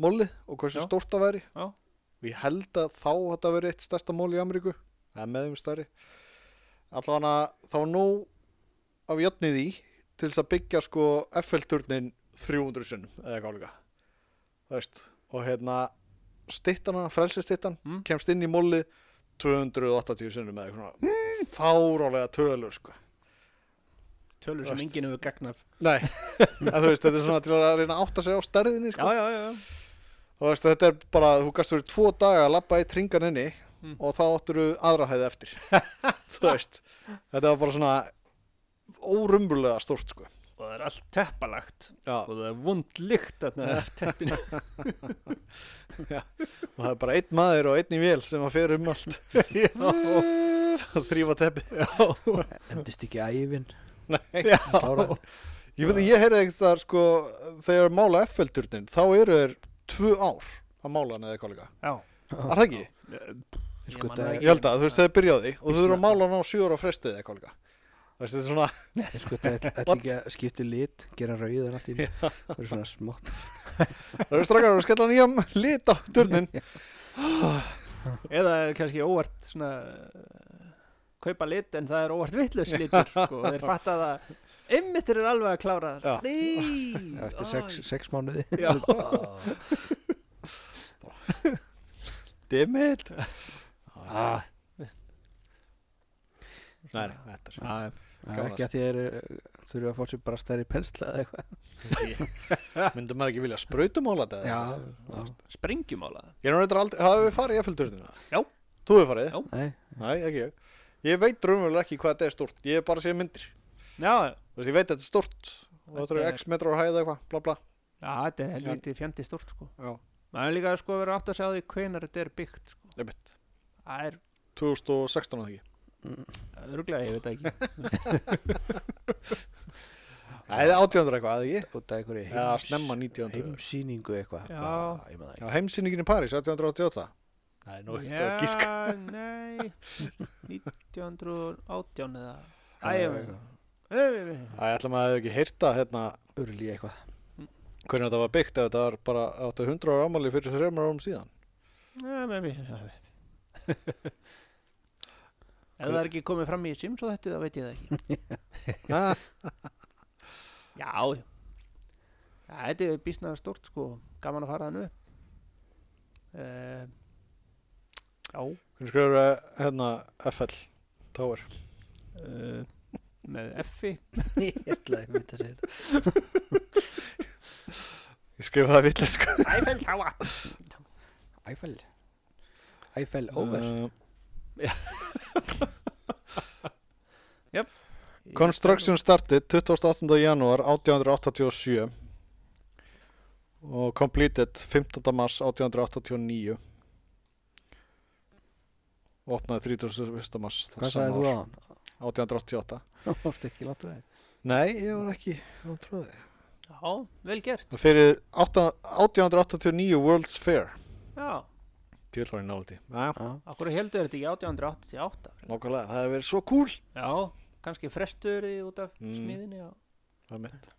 mólið og hversu Já. stórt það væri Já. og ég held að þá þetta verið eitt stærsta mól í Ameríku um eða meðum stærri allavega þá var nóg af jötnið í til þess að byggja sko F-fjöldurnin 300 sunnum eða gálega þú veist og hérna stittan hana, frelsistittan Mm. kemst inn í móli 280 sunnum eða eitthvað mm. fárálega tölur sko tölur Þú sem veist. enginn hefur gagnaf [laughs] nei, en þú veist þetta er svona til að reyna að átta sig á stærðinni sko já, já, já, já. þú veist þetta er bara, þú gast verið tvo daga að labba í tringan inni Mm. og þá áttur þú aðra hæði [laughs] eftir þú veist, þetta var bara svona órumbulega stórt sko og það er allt teppalagt já, og það er vond lykt þarna af teppinu og það er bara einn maður og einn í vél sem að fer um [laughs] allt að þrýfa teppið endist ekki ævin Nei, klára ég veit að ég heyrði ekkert þar sko þegar þeir mála F-feldurnin þá eru þeir tvö ár að mála hann eða eitthvað líka já, er það ekki? Ég sko, man þetta það ég held að þú veist þeir byrjaði og þú eru að mála hann á sjö ára frestið eða eitthvað líka þú veist þetta er svona er sko þetta ætla ekki að skipta um lit gera rauðan allt í einu. það er svona smátt það eru strakkar að skella nýjum lit á turnin eða er kannski óvart svona eh, kaupa lit en það er óvart vittlaus litur sko, og þeir fatta það einmitt þeir eru alveg að klára Já. það Nei, eftir æ. sex, sex mánuði Já. dimmit Ah, Nei, nei, þetta er já, já. Það er ekki að þér þurfa að fá sér bara stærri pensla eða eitthvað Myndum maður ekki vilja sprautumála þetta? eða? já. springjum á það Ég er nú reyndar aldrei, hafið við farið í F-turnina? Já. Þú hefur farið? Já. Nei, Nei, ekki ég. Ég veit raunverulega ekki hvað þetta er stórt. Ég hef bara séð myndir. já, Þú veist, ég veit þetta er stórt. Og þetta eru Þetta er- x metrar á hæð eða eitthvað, bla bla. já, þetta er helviti fjandi stórt sko. Já. maður er líka sko að vera átt að segja á því hvenar þetta er byggt sko. Ég veit. það er 2016 að ekki. Mm, örglega, ég veit það ekki Nei, það er 1800 eitthvað, eða ekki? út af einhverju Já, snemma 1900. heimsýningu eitthvað Já. Bara, ég maður það Já, heimsýningin í París, 1888. Nei, nú er þetta að gíska. Já, nei 1918 eða Æ, Já, ég já, veit já. það Æ, ætla maður hefði ekki heyrta hérna ekki. Urli eitthvað hvernig þetta var byggt ef þetta var bara 800 ára ámali fyrir þreymar árum síðan. Já, með mér [laughs] Ef það er ekki komið fram í Sims og þetta, þá veit ég það ekki Ha, Já, já Já, þetta er býsna stórt sko Gaman að fara þannig upp uh, Já Hvernig skrifur hérna FL Tower? uh, Með F-i [laughs] Ég ætla ekki að segja þetta Ég skrifa það vitlega sko. Æfell táa Æfell Æfell over Uh, Yep. Construction started 28. janúar 1887 og completed 15. mars 1889 opnaði 31. mars Hvað sagði þú á [laughs] hann? 1888 Það varst ekki látur það Nei, ég var ekki á tróði. Já, vel gert Það fyrir 8 1889 World's Fair Já, Djöðlar í náldi Næja, okkur heldur þetta ekki 1888 nokkulega, það hefur verið svo cool Já, kannski frestur því út af Mm. smíðinni og Það er mitt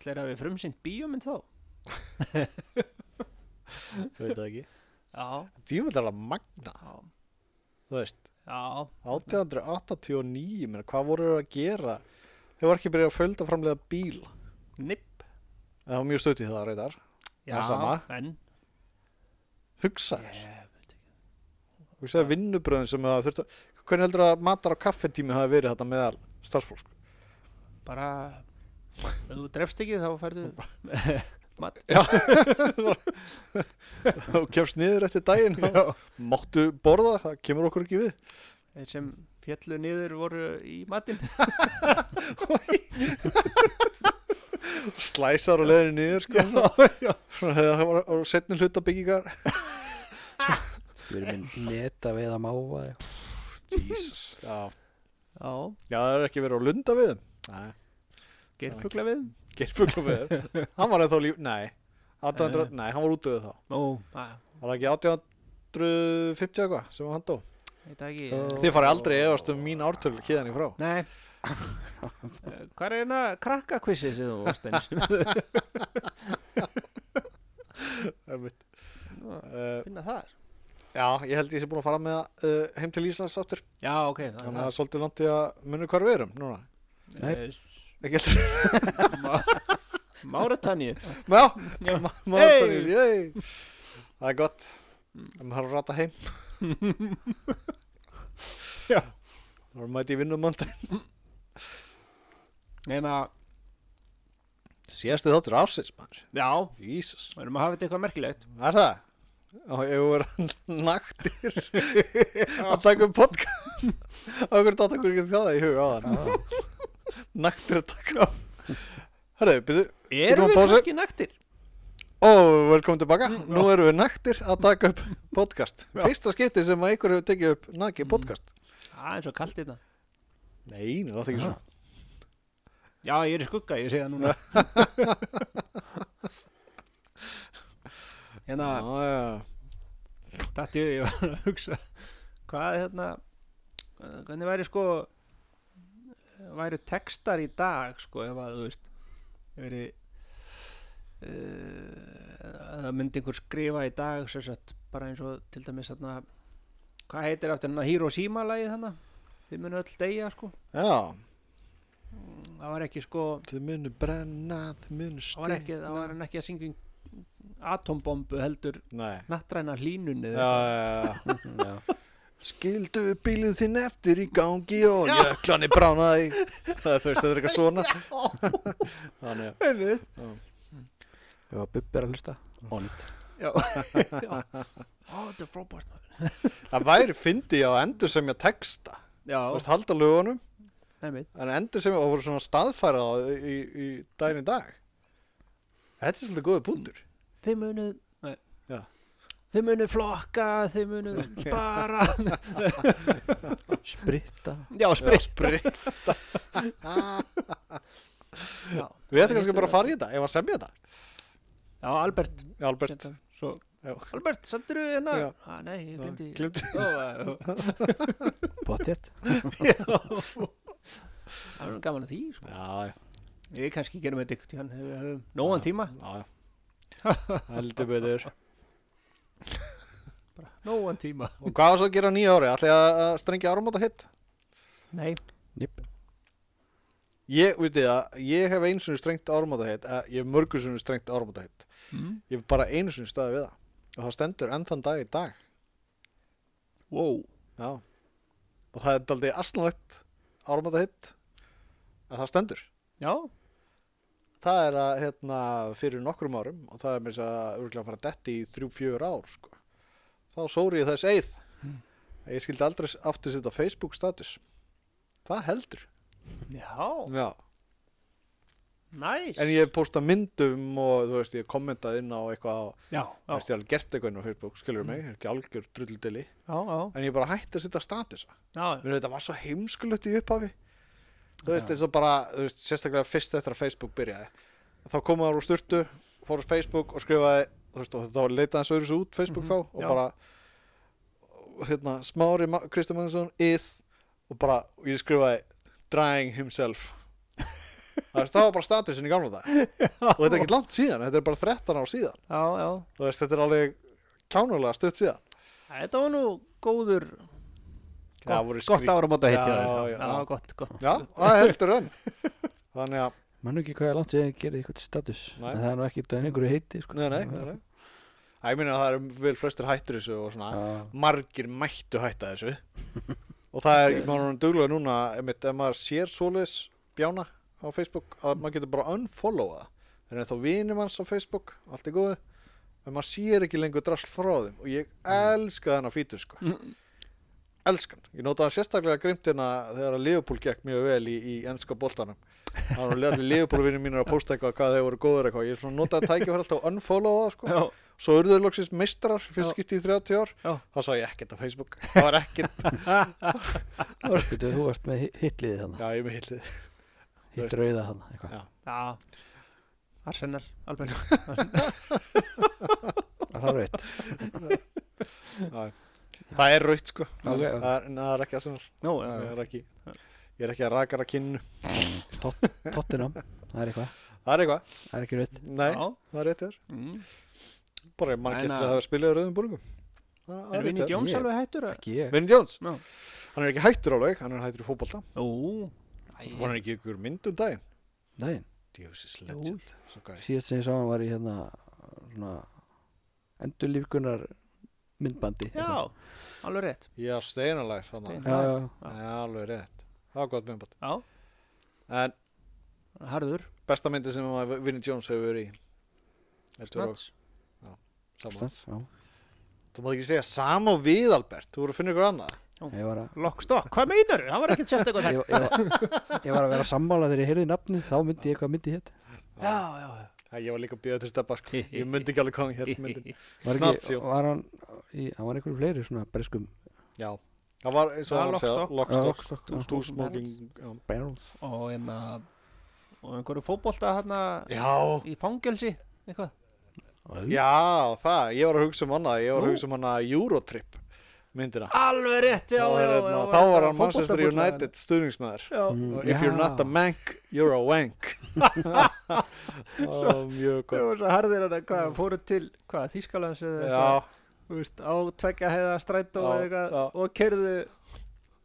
ætlaðir að við frumsynd bíómynd þá Það veit það ekki Já, Djöðlar að magna, já, þú veist já 1889, menn, hvað voru þau að gera Þau var ekki byrjað að fjölda framlega bíl Nipp Það var mjög stötið það reyndar Það er Já, sama. en Hugsaður, Ég veit ekki. hugsaður vinnubröðin sem það þurft að Hvernig heldur að matar á kaffetími hafi verið þetta meðal [laughs] starfsfólk sko? Bara Ef þú drefst ekki þá færðu Mat Og kemst niður eftir daginn og Máttu borða, það kemur okkur ekki við [laughs] Þeir sem fjallu niður voru í matinn Slæsar og leðinu niður sko. já Svona þegar það var á setni hluta byggingar Við erum minn neta veið að máva Jesus Já, Já, já það er ekki verið á lunda við Nei, geirfugla við geirfugla [laughs] við Hann var eða þá líf, nei 800, nei, hann var útöðu þá Ó, að, Var það ekki 1850 eitthvað sem hann dó veit það ekki Ó. Þið farið aldrei efast um mín ártöl Kíðan í frá [laughs] Nei Eh, Hvað er hérna krakkakvissið sem þú varst [laughs] eins Einmitt. Nú, uh, Finna þar Já, ég held ég sé búin að fara með það, uh, heim til Íslands aftur Já, ok Þannig að það er svolítið landið að munið hvar við erum núna Nei. Eh, Ekki [laughs] heldur Máratanju Já, [laughs] Já. Máttanís, hey. Mm. Það er gott Það maður að rata [laughs] heim Já. Það var mæti í vinnum mandag Neina, Síðastu þáttur ásins maður já, Jísus við erum að hafa þetta eitthvað merkilegt Er það? Og ég voru [laughs] naktir að taka um podcast Akkur dátt okkur ekki það í huga á Já. þann Naktir að taka Herðu, byrju Erum Getum við við pásu? kannski naktir? Ó, velkomin tilbaka. Nú erum við naktir að taka upp podcast. Fyrsta skipti sem að ykkur hefur tekið upp nakið podcast. Það er svo kalt hérna. þetta Nei, nú er það ekki svona. Já, ég er í skugga, ég sé það núna Hérna, Á, já. Þetta ég, ég var að hugsa hvað er hérna eh, hvernig væri sko væri textar í dag sko ef að þú veist ef væri uh, það myndi einhver skrifa í dag sem sagt bara eins og til dæmis hérna hvað heitir aftur hérna Hiroshima lagið hérna þið munu öll deyja sko já, það var ekki sko þið munu brenna, þið munu það var ekki, það var hann ekki að syngja um atombombu heldur Nei. nattræna hlínunni Já, já, já. Já. Skildu bílinn þinn eftir í gangi og jöklani bránaði. Það er þú veist, þetta er eitthvað svona. [laughs] Þannig að, Já, Bubbi er að hlusta Ond Já, [laughs] já. Ó, þetta er frábært maður það væri fyndi á endur sem ég texta. Þú Já, veist, halda lögunum. nefnir En endur sem, og voru svona staðfærað á- í, í daginn í dag. Þetta er svolítið góðið búndur. Þið munu Nei Já. Þið munu flokka, þið munu [laughs] spara Spritta Já, spritt Sprit. [laughs] Já, Við ættum kannski bara að fara í þetta, ef að semja þetta. Já, Albert Já, Albert. Hérna, Svo Já. Albert, samt eru við hérna Já. ah, Nei, ég glemdi Glimti. Ó, já, já. Pottet Það er nú gaman að því sko. Já, Ég kannski gerum þetta ykkur tíðan Hefur hefur nógan tíma já. Heldur betur. Nógan tíma Og hvað var svo að gera á nýja ári? Ætli að að strengja áramóta hitt? Nei Nip Ég, veit þið að, ég hef einu sinni strengt áramóta hitt, ég hef mörgur sinni strengt áramóta hitt. mm. Ég hef bara einu sinni staðið við það. Og það stendur enn þann dag í dag. Wow Já. Og það er daldið asnalegt áramóta hitt. En það stendur. Já Það er að, hérna, fyrir nokkrum árum og það er mér að örgulega að fara að detti í þrjú, fjör ár, sko. Þá sóri ég þess eið. að Ég skildi aldrei aftur setja Facebook status. Það heldur. Já Já. Næs En ég hef postað myndum og, þú veist, ég hef kommentað inn á eitthvað, á- Já, þú já, Mm. veist, ég hef alveg gert eitthvað inn á Facebook, skilur mig, er ekki algjör drulldili. já, já, En ég bara hætti að setja statusa. já. Mér veit, þetta var svo heimskulegt í upphafi. Þú veist, eins og bara, þú veist, sérstaklega fyrst eftir að Facebook byrjaði. Þá kom það úr sturtu, fór á Facebook og skrifaði, þú veist, og þetta var leitað eins og öðru svo út Facebook Mhm, þá og já. bara, hérna, smári Ma- Kristján Magnússon is og bara, og ég skrifaði drying [laughs] himself. það veist, það var bara statusin í gamla dag. og þetta er ekki langt síðan, þetta er bara 13 ár síðan. já, já. Þú veist, þetta er alveg kjánulega stutt síðan. Þetta var nú góður Já, voru gott, gott skrí- áramóta hitt Já, já, já. já, já, gott, gott Já, það heldur enn. Þannig að, Mannu ekki hvað er langt ég gerði eitthvað status Nei. En það er nú ekki dæn einhverju heiti sko. Nei, nei, nei, nei. Æ, ég meina að það eru vel flestir hættur þessu og svona Já. margir mættu hætta þessu [laughs] og það er ekki maður hann duglega núna einmitt, ef maður sér svoleiðis bjána á Facebook að maður getur bara unfollowa það en þá vinum hans á Facebook, allt er góðu en maður sér ekki lengur drasl frá þeim og ég elska þennan fítur sko Mm. elskan, ég nota hann sérstaklega grimtina þegar að Leopold gekk mjög vel í, í ennska boltanum það var allir Leopold-vinnum mínir að posta eitthvað hvað þeir voru góður eitthvað, ég svona notaði tækifæri alltaf að unfollowa það sko [laughs] já, svo urðu þau loksins meistrar fyrst Já. skipti í 30 ár Já. þá sá ég ekkert á [laughs] Facebook það var ekkert Veitu, Þú varst með hi- hitliðið þannig já ég er með hillið Hitt rauða þannig Já. já. Arsenal, alveg Það er rauðt það er raut sko Ok, ok. það, er, en það er ekki aðsennal Nú, ég já, er ekki ég er ekki að rakara kinnu Tottenham Það er eitthvað það er eitthvað Það er ekki rauðt nei já. það er rétt þér Mm. bara ég mann En getur að- að hafa spilað í rauðum búringum Það- það Er Vinnie rétt hjá þér. Jones ég- alveg hættur? að- Ekki ég Vinnie Jones Já. hann er ekki hættur alveg hann er hættur í fótbolta Jú, var hann ekki í ykkur mynd um daginn daginn Djöfis is Jú. legend Svo gæði síðast sem ég sá hann var í hérna svona endurlífkunar myndbandi Já, alveg rétt Já, Stayin' Alive þarna. Stayin' já, já, Já, alveg rétt Það var gott myndbætt Já, En harður, besta myndi sem að Vinnie Jones hefur verið í Eldur og snats saman stans, já. Þú mátt ekki segja sama og við Albert Þú voru að finna ykkur annað Ég, var að, Lockstock, hvað meinar Það var ekkert sérstaklega ég, þar ég, var, ég var að vera sammála þegar ég heyrði nafnið þá myndi ég hvað myndi hétt Já, já, já Æ, Ég var líka að býða til stefna [laughs] sko. Ég myndi ekki alveg hérna hvað hann hér myndi var, ekki, Snartsjó. var hann í, hann var einhverju fleiri svona breskum Já Það var eins og Já, hann var að segja Lockstock. Lockstock Lockstock, Two- já. Two Smoking Smoking já. barrels Og hérna- einna Og einhverju fótbolta hérna Já, Í fangelsi, eitthvað já, það Ég var að hugsa um annað Ég var að Nú. hugsa um annað Eurotrip myndina Alveg rétt, já, Þá já, er já, hérna- já Þá já, var hann fótbolta- Manchester fótbolta- United stuðningsmaður Já, Mm, Og If you're já. not a mank, you're a [laughs] wank [laughs] Það var mjög það gott var svo harðir hann Hvað, hann fóru til, hvað, Þýskalands eða eitthvað Já, Þú veist, á tveggja heiða strætó Já, eða eitthvað já. Og kerðu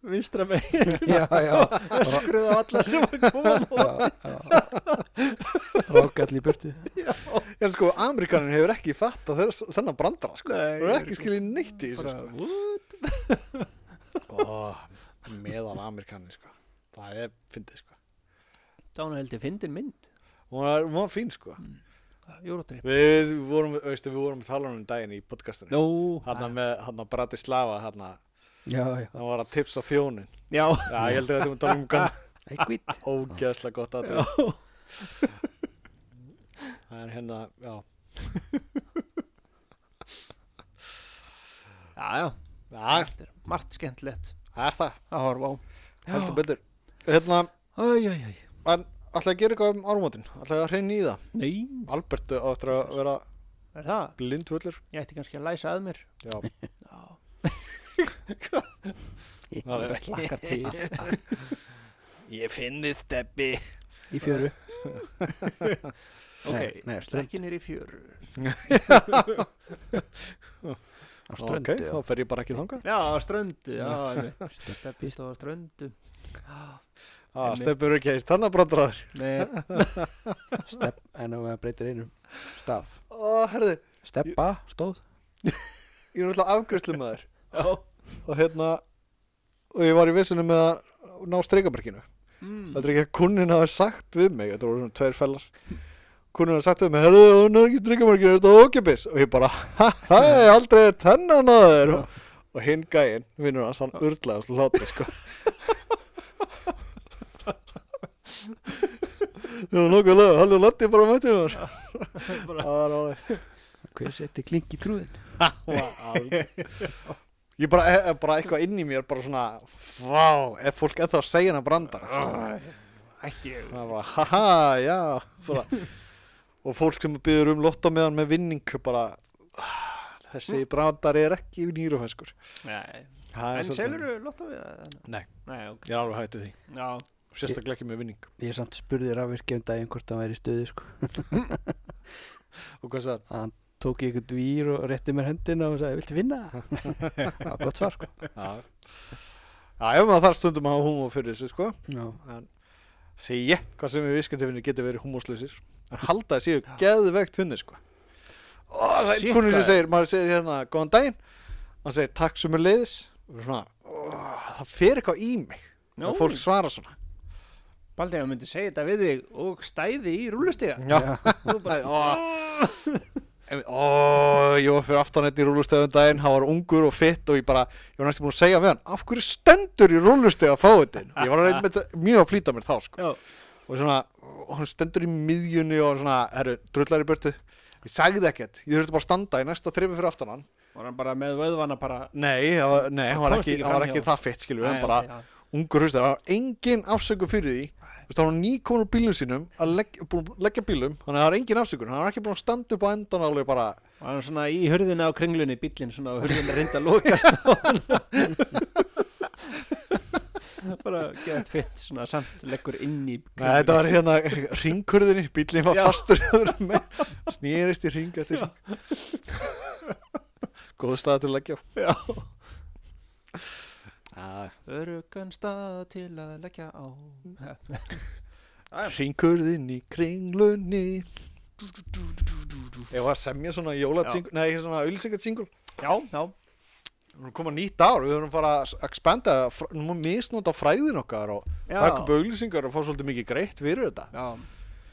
vinstra [laughs] [laughs] megin já, já, Öskruð á alla sem að koma á móti. rákall í burtu en sko, Amerikanin hefur ekki fatt að þennan brandara sko Nei, Þú hefur ég ekki veit skilja neitt í þessu Bara, sko. what? Ó, Meðal Amerikanin sko Það er fyndið sko Dánu heldur fyndin mynd Hún var, hún var fín sko Júrótrip Við vorum, veistu, við vorum að tala um daginn í podcastinu Nó Hanna með, hanna Bratislava, hanna já, já, Hann var að tipsa þjónin Já Já, ég held að þetta var tala um gann eitthvað Ógeðslega gott að [laughs] Já. Það er hérna, já Já, já Já, Þetta er Margt skemmtilegt það er það, að horfa á heldur betur Hérna, Æj, æj, æj en ætlaði að gera eitthvað um árumótin Ætlaði að hreina í það Nei Albert á eftir að vera Er það? blindvöllur Ég ætti kannski að læsa að mér Já, Já það er ekki Lakkar til Ég finn þið steppi í fjöru Ok nei, nei, strönd, Strekkin er í fjöru á Ok, ströndu þá fer ég bara ekki þangað Já, á ströndu Já, einmitt Steppist á ströndu ah, Steppi eru ekki eitt, þannig að brandraður Nei [laughs] stepp, en ef maður breytir einum staf, Ó, herði, steppa, stóð ég er alltaf afgjörslu maður Já og hérna og ég var í vissunum með að ná streikabarkinu Mm. þetta er ekki að kunnin hafa sagt við mig þetta voru svona tveir fellar kunnin hafa sagt við mig, herðu, hún er ekki streikabarkinu þetta er ókipis og ég bara, ha, ha, ég aldrei er tennan að þér Já. og, og hinn gæinn, vinnur hans, hann urlaðast hlátti, sko Já, nokkulega, hann er landi bara mættið mér Bara- Það var alveg hver setti klink í trúðin Ég bara, e- e- bara eitthvað inn í mér bara svona, vá, ef fólk eða að segja hana brandara skilurðu. Ætti ég það er bara, haha, já bara. og fólk sem byður um lotta með hann með vinning bara, "Ah, þessi brandari er ekki nýrufæskur Nei Það er En svolítið- selur þú lotto við það? Nei. Nei, ok Ég er alveg hættu því, Já sérstaklega ekki með vinning ég samt spurði rafvirkja um daginn hvort hann væri í stöðu sko. og hvað sagði, að hann tók í eitthvað dvír og rétti mér höndina og sagði, viltu [laughs] vinna? það var gott svar sko. já Já, ef maður þarf stundum að hafa húmó fyrir þessu, sko já, en segi ég, hvað sem við viskendöfinni geti verið húmóslausir en halda þessi og geðvegt finnir sko og það er Shit, einhvern sem maður. segir maður segir hérna, góðan daginn hann segir takk sem er leiðis og svona, oh, það fer eitthvað í mig Nú, þegar fólk svarar svona Baldi, ég myndi segja þetta við þig og stæði í rúlustiga. já, Þú bara, ó, En- ó, ég var fyrir aftan eitt í rúlustöðum daginn hann var ungur og fitt og ég bara ég var næstum búin að segja við hann, af hverju stendur í rúlustöð að fá þetta, inn?" ég var að reyna með þetta mjög að flýta mér þá sko já, og svona, og hann stendur í miðjunni og svona, herru, drullar í burtu ég sagði það ekkert, ég þurfti bara að standa í næsta þremi fyrir aftan hann var hann bara með vöðvana bara. nei, það var, nei, hann var komst ekki, ekki hann var framhjá. ekki það fett skilur, Nei, hann bara ok, já. ungur hlustur, það var engin afsöku fyrir því Nei. Þú veist, hann var nýkomin úr bílum sínum að legg, búin að leggja bílum, þannig að það var engin afsökun hann var ekki búin að standa upp á endan alveg bara Var hann svona í hurðina á kringlunni, bíllinn svona og hurðin reynda að lokast á hann. [laughs] bara geðað fitt svona samt leggur inn í Nei, þetta var hérna ringkurðinni, bílinn var Já. fastur öðrum megin, snýrist í ring eftir ring góð stað til að leggja á. Já. Já, Örugan stað til að leggja á. Jæja. Ringurðinn í kringlunni Ég var að semja svona jólatsingur, nei, svona auðlýsingatsingul já, já, Við erum koma nýtt ár, við erum fara að expanda, fr- nú má misnota fræðin okkar og já taka upp auðlýsingar og fá svolítið mikið greitt fyrir þetta já,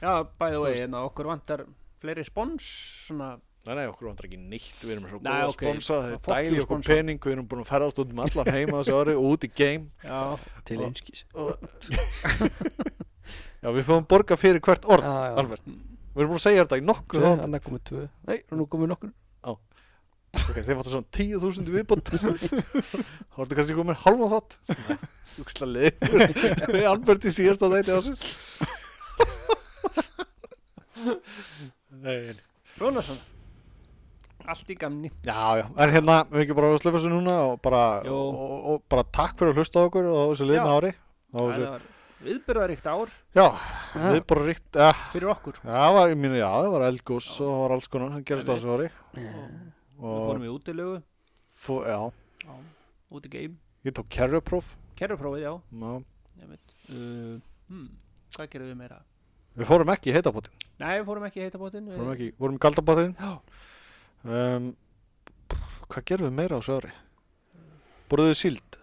já, bæði Þú og veist. eina hérna, okkur vantar fleiri spons svona, Nei, nei, okkur vantar ekki neitt, við erum svo Nei, góða að ok. sponsa, þeir Fuck you, dæli okkur sponsor. pening, við erum búin að ferðast út um allan heima þessu ári og út í game. já, til Og- einskís Já, við fáum borga fyrir hvert orð, Já, já. Albert. Við erum búin að segja þetta í nokkuð þátt. annar komið tvö nei, nú komið nokkur Ok, þeir fattu svona 10.000 í viðbútt. Hortu kannski komin halvan þátt. Júksla leiður. Við Albert í síðasta þætti á sér. Nei, nei. svona svona allt í gamni já, já, en hérna, við ekki bara að slöfa þessu núna og bara, Jú. og, og, og bara takk fyrir að hlusta á okkur og þessu liðna Já. ári. Og það þessu, var viðbyrðaríkt ár já, Já. við bara ríkt, eh, fyrir okkur sko. Já, það var, ég mínu, já, það var eldgús og það var alls konar, það gerist á Einmitt. þessu ári við og, fórum í útilegu, fó, já, út í game ég tók kerrupróf kerruprófið, já, já. ég veit uh, hmm, hvað gerum við meira? við fórum ekki í heitabótin, Nei, við fórum ekki í heitabótin við- fórum ekki, vorum í kaldabótin Já. um, Hvað gerum við meira á þessu ári? Borðuðu síld,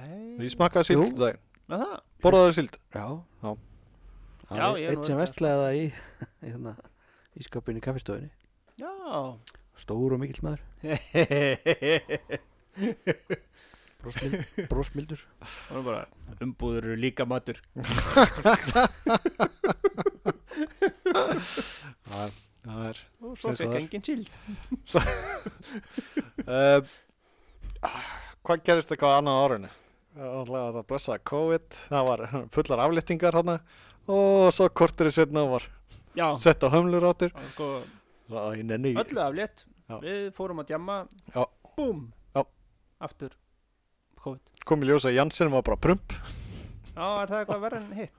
Nei, ég smakkaði síld Jú. þetta daginn, með það borðuðu síld já Já. Það Já, ég er nú er einn sem örugglega vestlaði það í [laughs] hérna, í skapinu í kaffistöðinni Já stór og mikill maður brosmild, brosmildur Það var bara umbúður eru líka matur Það er, það er og Sem svo fekk það er. engin síld um, Hvað gerist eitthvað annað á árinu? Það var náttúrulega að það blessaði COVID, það var fullar aflýttingar hana og svo kortur í setna var Já, sett á hömlur áttur það var sko Já, ég nenni ekki. öllu aflétt Já. Við fórum að djamma Já. Búm Já. Aftur COVID Kom í ljós að Janssen var bara prump. Já, er það eitthvað verra en hitt?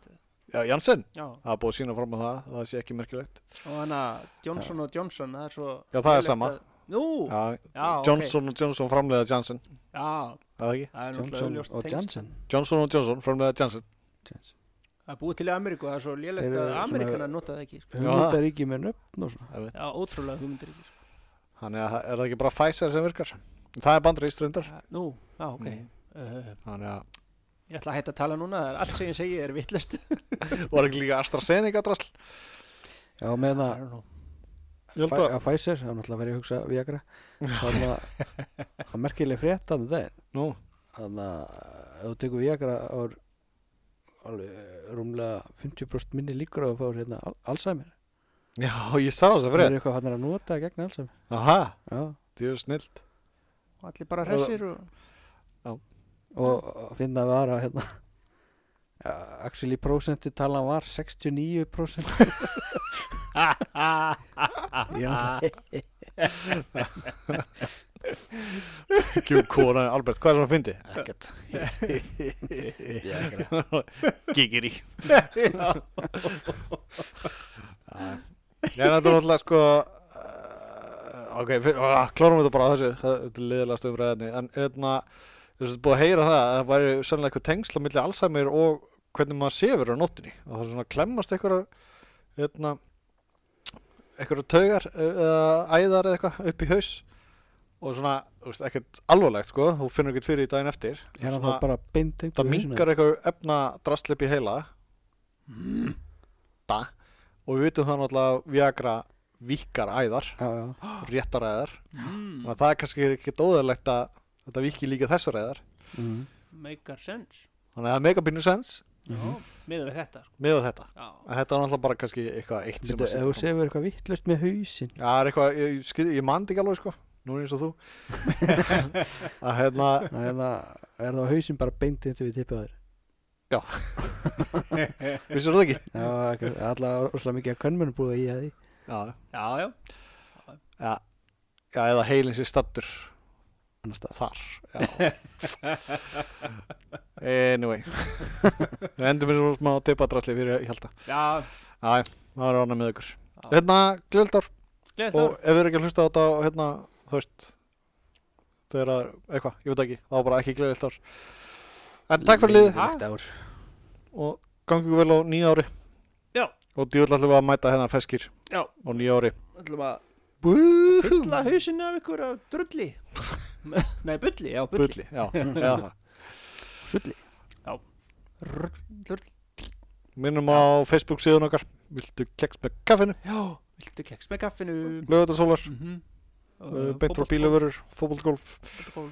Já, Janssen, Já, það er búið að sína fram á það, það sé ekki merkilegt. og hann að Johnson og Johnson, það er svo Já, það er lélegt sama. að- Nú, já, Já, ok. Johnson og Johnson framleiða Janssen, Já, er það ekki? það er náttúrulega Johnson auðljóst og tengst. Janssen Johnson og Johnson framleiða Janssen. Janssen. Það er búið til í Ameríku, það er svo Þeir lélegt eru að svona- Ameríkanar nota það ekki sko. hugmyndar ekki með nöfn og svona Já, ótrúlega hugmyndir ekki sko. Þannig að það- er það ekki bara Pfizer sem virkar? Það er bandri í ströndar. Nú, já, ok Mm. uh, Þannig að, Ég ætla að hætta að tala núna, það er allt sem ég segi er vittlust var ekki líka AstraZeneca drasl? já, með það Ég held Fæ- að, að Pfizer, það er náttúrulega verið að hugsa Viagra þannig [laughs] að það er merkileg frétt þannig að nú, þannig að ef þú tekur Viagra þá er alveg eh, rúmlega 50% minni líkur á að fá hérna al- Alzheimer já, ég sá þess að það fyrir. er eitthvað hann er að nota gegn Alzheimer Aha, já. það er snilt. Allir bara hressir og og að finna að vara hérna ja, actually prosentu talan var 69% [laughs] já, Gjú, kona, Albert, hvað er svona fyndi? Ekkert. Viagra Gigir í. Já, en þetta er náttúrulega sko uh, Ok, fyr, uh, klárum þetta bara á þessu það- Þetta er liðilega stöðum ræðinni En hérna, þú veist, búið að heyra það að Það væri sennilega eitthvað tengsla milli Alzheimer og hvernig maður sefur á nóttinni og það er svona að klemmast einhverjar hérna, einhverjar taugar eh, eða æðar eða eitthvað upp í haus og svona, þú veist, ekkert alvarlegt sko, þú finnur ekkert fyrir í daginn eftir er Svona- hann Hérna þá bara beintengt það mingar eitthvað efna drastleip í heila Mm. da og við vitum það náttúrulega að Viagra vikar æðar, já, já réttar æðar mm, og það er kannski ekki dóðilegt að þetta viki líka þessar æðar mm. Make sense þannig að það make a business sense Já, miður við þetta sko. með þetta Já, en þetta er náttúrulega bara kannski eitthvað eitt sem Bíddu, að ef þú setja fram. sefur eitthvað vittlust með hausinn Já, það er eitthvað, ég, ég, skil- ég mandi ekki alveg sko nú er ég eins og þú [laughs] að hérna, það er það, er það hausinn bara beintint við tippið á þér vissir það ekki? já, ekki- allavega rosalega mikið að könnmönn búið í að því Já, já, já já eða heilin sér stattur annars það þar já. anyway við endum eins og smá tippadrasli fyrir ég held að Já, Æ, það er ánæg með ykkur Já. hérna, glöldar gleðið og ef við erum ekki að hlusta á þetta og hérna, þú veist þegar að, eitthvað, ég veit ekki þá bara ekki glöldar en takk fyrir liðið Leiðinlegt ár. og gangi ykkur vel á nýja ári og djúðla ætlum við að mæta hérna feskir Já. og nýja ári ætlum að Bulli, bulla hausinu af ykkur af drulli nei, bulli, já, bulli, Bulli [laughs] já, já, það. Sulli Rull, rull. minnum á Facebook síðan okkar viltu keks með kaffinu, já, viltu keks með kaffinu lögutarsólar mm -hmm. uh, beint frá bílöfurur, fótboltgolf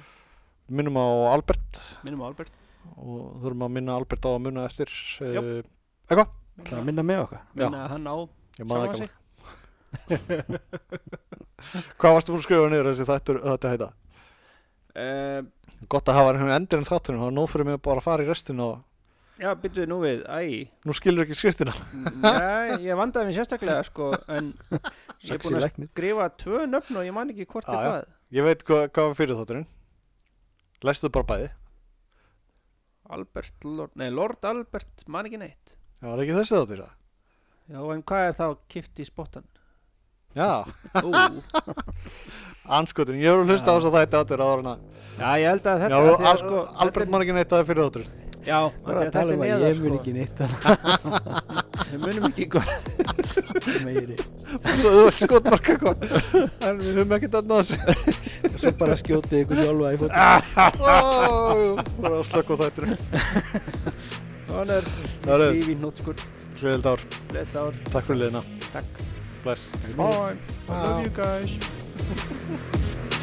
minnum á Albert minnum á Albert og þurfum að minna Albert á að muna eftir Já. uh, eitthvað, Það minna með okkar minna hann á ég maður sjálfan ekki sig alveg. hvað varstu búin að skrifa niður þessi þættur eh, þetta heita uh, gott að hafa henni endur en þáttunum það er nóg fyrir mig að bara fara í restin og já, byrjuðu nú við, æ nú skilur ekki skriftina Nei, ég vandaði mér sérstaklega sko, en ég er Sexy búin að læknir skrifa tvö nöfn og ég man ekki hvort Já, er já. hvað ég veit hvað, hvað var fyrir þátturinn lestu bara bæði Albert, Lord, nei, Lord Albert man ekki neitt það var ekki þessi þáttur það Já, en hvað er þá kipt í spottan? já, Ú, anskotin, ég hefur hlusta á þess að þetta þáttur áður en að já, ég held að Já, þetta af því að, Al- Albert man ekki neitt að það er fyrir þáttur þetta er, Já, af því Bara að að þetta tala er um að neðar ég mun sko. ekki neitt að Við munum ekki hvað meiri svo þú vilt skotmarka eitthvað en við höfum ekkert að ná þessu [laughs] Svo bara skjótið ykkur sjálfa í fótum Ó, bara að slökka á þættur [laughs] Hann er það er lífi nótskur hliðild ár, Bless out, takk fyrir liðina takk bless Bye, I Bye. love you guys